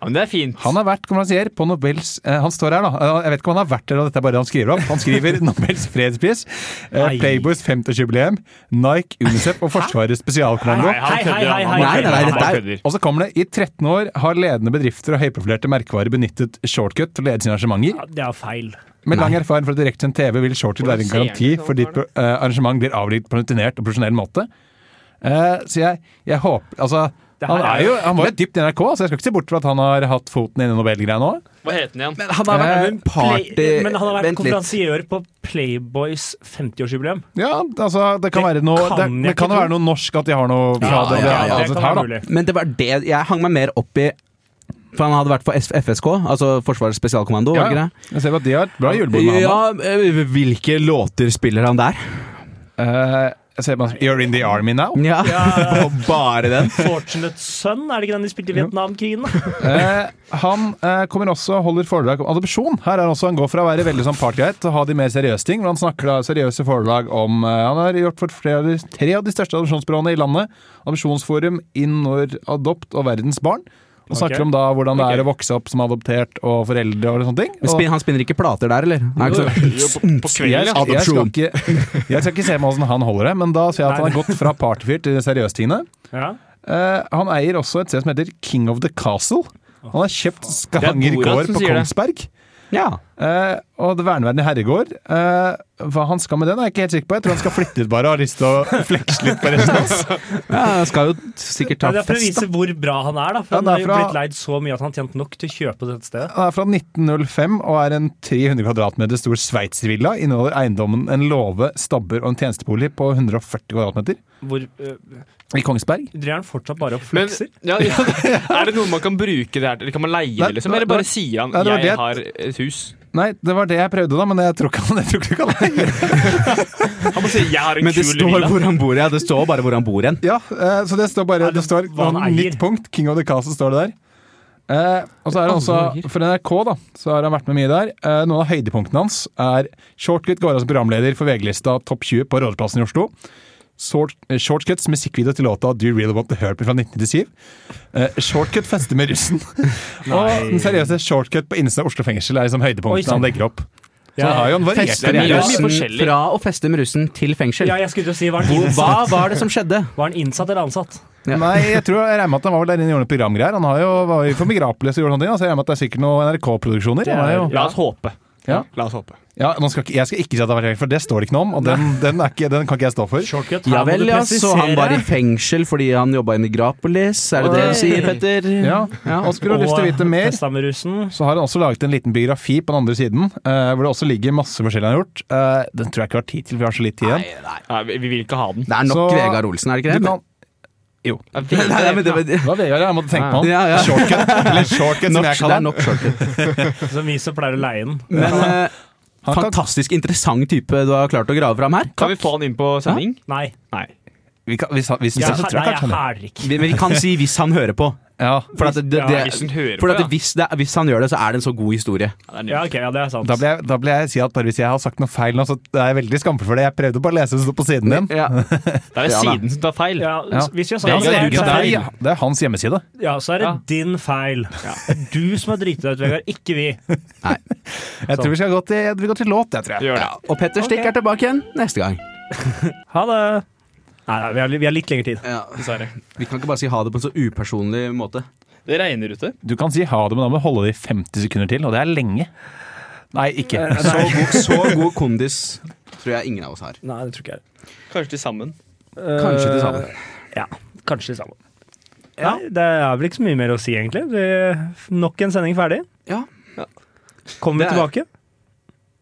S7: Ja, men det er fint.
S8: Han har vært konferansier på Nobels eh, Han står her, da. Eh, Jeg vet ikke om han har vært der, og dette er bare det han skriver om. Han
S5: [laughs]
S8: skriver Nobels fredspris, eh,
S5: Nei.
S8: Playboys 50-årsjubileum, Nike, Unicef og Forsvarets spesialkommando.
S5: Hei, hei, hei, hei,
S7: han kødder,
S5: hei.
S2: Nei, nei, nei,
S7: han
S2: dette er-
S7: kødder.
S8: Og så kommer det i 13 år har ledende bedrifter og høyprofilerte merkevarer benyttet shortcut til å lede sine arrangementer.
S5: Ja, Det er feil.
S8: Med lang erfaring fra direktesendt TV vil shortcut være en
S7: ser
S8: garanti
S7: de sånn
S8: for ditt pro- eh, arrangement blir avlivet på en rutinert og profesjonell måte. Eh, så jeg, jeg håper Altså,
S5: Det her
S8: han, er
S5: er
S8: jo,
S5: jo-
S8: han var jo dypt i NRK, så jeg skal ikke se bort fra at han har hatt foten inne i Nobelgreia nå.
S7: Hva het den igjen?
S2: Men han har vært
S8: Eh,
S2: en party...
S5: Play, men han har vært
S2: Vent litt.
S5: konferansier på Playboys 50-årsjubileum.
S8: Ja, altså det kan
S5: Det
S8: være noe
S5: kan
S8: det,
S5: jeg
S8: det kan
S5: ikke
S8: være noe norsk at de har noe fra
S2: Ja,
S8: det.
S2: ja, ja,
S8: altså,
S5: det kan
S8: her,
S5: være
S8: da. [laughs]
S5: mulig.
S2: Men det var det Jeg hang meg mer opp i For han hadde vært for S- FSK, altså Forsvarets spesialkommando. var
S8: Ja,
S2: det
S8: ja. Jeg ser at de har et bra julebord
S2: ikke
S8: med
S2: det?
S8: han. da.
S2: Ja, eh, hvilke låter spiller han der?
S8: Eh, jeg ser bare, You're in the army now.
S2: Ja,
S5: Ja,
S2: Og bare den?
S5: Fortunate Son, er det ikke den de spilte i Vietnamkrigen? da?
S8: Eh, han eh, kommer også og holder foredrag om adopsjon. Her er også Han går fra å være veldig sånn partygeit til å ha de mer seriøse ting. Men han snakker da seriøse foredrag om eh, Han har gjort for flere, av de- tre av de største adopsjonsbyråene i landet. Adopsjonsforum, Innor Adopt og Verdens Barn. Og snakker
S5: Ok.
S8: om da hvordan det er å vokse opp som adoptert og foreldre og sånne ting.
S2: Men
S8: Og-
S2: [laughs] spin, han spinner ikke plater der, eller? Han er ikke sånn
S6: Jo, på,
S2: [laughs]
S6: på
S8: Jeg,
S6: kvelden, ja.
S8: jeg, skal ikke, jeg skal ikke [laughs] se med åssen han holder det, men da ser jeg at han har gått fra partyfyr til seriøstingene.
S5: Ja.
S8: Eh, han eier også et sted som heter King of the Castle. Han har kjøpt Skahanger
S7: Borat
S8: gård
S7: som
S8: på
S7: sier det.
S8: Kongsberg.
S2: Ja.
S8: Eh, og det verneverdige herregård. Eh, hva han skal med den, er jeg ikke helt sikker på. Jeg tror han skal flytte ut bare og har lyst til å flekse litt på resten av oss.
S2: ja, [laughs] altså. han skal jo sikkert ta
S5: Ja, det er for å
S2: fest,
S5: vise
S2: da.
S5: hvor bra han er, da.
S8: Ja,
S5: For han har jo
S8: derfra-
S5: blitt leid så mye at han tjente nok til å kjøpe dette stedet.
S8: Han er fra 1905 og er en 300 kvadratmeter stor sveitservilla. Inneholder eiendommen en låve, stabber og en tjenestebolig på 140 kvadratmeter
S5: Hvor øh,
S8: i Kongsberg.
S5: driver han fortsatt bare og
S7: Men,
S5: flekser?
S7: ja, ja, er det noe man kan bruke det her til? Kan man leie
S8: Nei,
S7: det, liksom?
S8: det
S7: Eller
S8: var-
S7: bare sier han
S8: Nei, det var
S7: 'jeg
S8: det-
S7: har et hus'?
S8: Nei, det var det jeg prøvde, da, men jeg tror ikke han jeg tror ikke han
S7: Han bare sier 'jeg har en
S2: Men det
S7: kul
S2: står
S7: villa'.
S2: hvor han bor, ja. Det står bare hvor han bor hen.
S8: Ja, eh, så det står bare
S5: Er det
S8: det står
S5: hva han
S8: noen
S5: eier?
S8: nytt punkt. King of the Castle står det der. Eh, og så er det også, For NRK da, så har han vært med mye der. Eh, noen av høydepunktene hans er Shortcut går av som programleder for VG-lista Topp 20 på Rådhusplassen i Oslo. Short, eh, Shortcuts musikkvideo til låta Do You Really Want To Hurt Me fra 1997. Eh, Shortcut fester med russen. [laughs] og den seriøse Shortcut på innsiden av Oslo fengsel er liksom
S5: Oi,
S8: høydepunktene
S5: sant.
S8: han legger opp. Så
S5: Ja.
S8: han har jo en variert
S7: Fester med
S8: karriere.
S7: russen. mye
S2: Russen,
S7: forskjellig.
S2: fra å feste med russen til fengsel.
S5: Ja, jeg skulle til å si, var han
S2: Hvor-
S5: innsatt,
S2: Hva var det som skjedde?
S5: var han innsatt eller ansatt?
S2: Ja.
S8: Nei, jeg tror jeg regner med at han var vel der inne og gjorde noen programgreier. Han har jo, var jo for Migrapolis og gjorde sånne ting. da, Så jeg regner med at det er sikkert noen NRK-produksjoner. Han er jo-
S7: La oss håpe.
S8: Ja.
S7: La oss håpe.
S8: Ja, nå skal ikke, jeg skal ikke si at det har vært helt, for det står det ikke noe om. Og den, den, er ikke, den kan ikke jeg stå for.
S5: Shortcut, her
S2: Ja
S5: må
S2: vel,
S5: du
S2: ja. Så han
S5: presisere.
S2: var i fengsel fordi han jobba i Migrapolis. Er det det du sier, Petter?
S8: Ja, og Skulle du ha lyst til å
S2: eh,
S8: vite mer,
S5: Testa med russen.
S8: så har han også laget en liten biografi på den andre siden. eh, hvor det også ligger masse forskjellig han har gjort. Eh, den tror jeg ikke vi har tid til, for vi har så litt tid igjen.
S7: Nei, vi, vi vil ikke ha den.
S2: Det er nok
S8: Så-
S2: Vegard Olsen, er det
S8: Du
S2: ikke det?
S8: kan,
S2: Jo.
S7: Ja, Vegard,
S2: Nei, men det, det,
S8: Det var Vegard, jeg måtte tenke på han.
S2: ja,
S8: [laughs]
S2: ja.
S8: Shortcut, eller shortcut som jeg
S2: Nok, det er
S8: kaller han.
S2: nok
S8: [laughs]
S2: shortcut.
S5: Som vi som pleier å leie den.
S2: Men eh,
S8: Han kan-
S2: fantastisk interessant type du har klart å grave fram her.
S6: Kan vi få han inn på sending?
S5: Nei.
S8: Vi kan- Hvis han- hvis
S5: Jeg,
S8: han setter
S5: nei,
S8: trøkk,
S5: jeg
S8: kanskje han-
S5: har ikke.
S2: Vi, men vi kan si 'hvis han hører på'.
S8: Ja.
S2: For, at det, det,
S5: Ja,
S6: Hvis han
S2: det,
S6: hører
S2: for
S6: på,
S2: at det, hvis, det, hvis han gjør det, så er det en så god historie.
S6: Ja, det er
S5: Ja,
S6: nydelig.
S5: ok, ja, det er sant.
S8: Da vil, jeg, da vil jeg si at bare hvis jeg har sagt noe feil nå, så er jeg veldig skamfull for det. Jeg prøvde bare å lese det som sto på siden din. [laughs]
S2: Ja.
S6: Det
S2: Ja,
S6: er
S2: da.
S6: siden som tar feil.
S5: Ja,
S8: Ja.
S5: Hvis vi
S8: Det
S5: har sagt
S8: er,
S5: feil,
S8: Jørgen
S5: så er,
S8: Deil, ja. det er hans hjemmeside.
S5: ja, så er det
S6: Ja.
S5: din feil. Du som har driti deg ut, Vegard, ikke vi.
S8: Jeg tror vi skal gå til, vi går til låt, jeg tror jeg.
S6: Gjør det.
S2: Ja. Og Petter Stikk er tilbake igjen neste gang.
S5: Ha det. Nei, nei, vi har, vi har litt lengre tid.
S6: Dessverre.
S2: Vi kan ikke bare si ha det på en så upersonlig måte.
S6: Det regner ute.
S8: Du kan si ha det, men da må du holde det i 50 sekunder til, og det er lenge. Nei, ikke.
S5: Eh,
S2: Så god, så god kondis tror jeg ingen av oss har.
S5: Nei, det tror ikke jeg.
S6: Kanskje til sammen.
S2: Kanskje til sammen.
S5: Eh, Ja, kanskje til sammen. Nei, det er vel ikke så mye mer å si, egentlig. Vi, nok en sending ferdig.
S2: Ja.
S5: Kommer vi
S2: Det
S5: tilbake?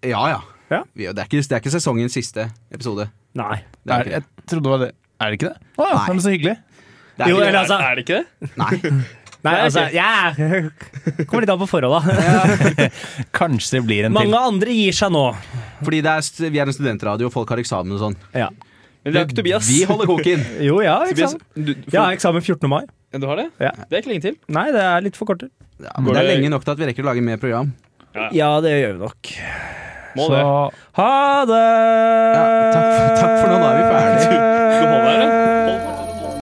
S2: Ja, ja.
S5: Ja.
S2: Vi- Det, er ikke, det er ikke sesongens siste episode.
S5: Nei.
S2: Det er
S8: Er,
S2: ikke
S8: jeg
S2: det.
S8: trodde det var det. Er det ikke det? Å, ja,
S2: Nei.
S8: men så hyggelig.
S2: det er
S5: Jo,
S2: ikke
S5: eller
S2: det.
S5: altså
S6: Er det ikke det?
S2: Nei.
S5: Nei, altså, ja [laughs] Kommer litt an på forholda.
S8: Kanskje det blir en til.
S5: Mange andre gir seg nå.
S2: Fordi det er, st- vi er en studentradio, og folk har eksamen og sånn.
S5: Ja.
S6: Men det er jo ikke Tobias.
S2: Vi holder koken.
S5: Jo, ja,
S6: Tobias,
S5: eksamen.
S6: du, du,
S5: Ja, eksamen 14. mai.
S6: du har det?
S5: Ja.
S6: Det er ikke lenge til.
S5: Nei, det er litt for kort.
S2: Ja, men det er lenge nok til at vi rekker å lage mer program.
S5: Ja, det gjør vi nok.
S6: Må
S8: Så
S6: det.
S5: Ha det!
S2: Ja, takk for- takk for nå, da er vi ferdig.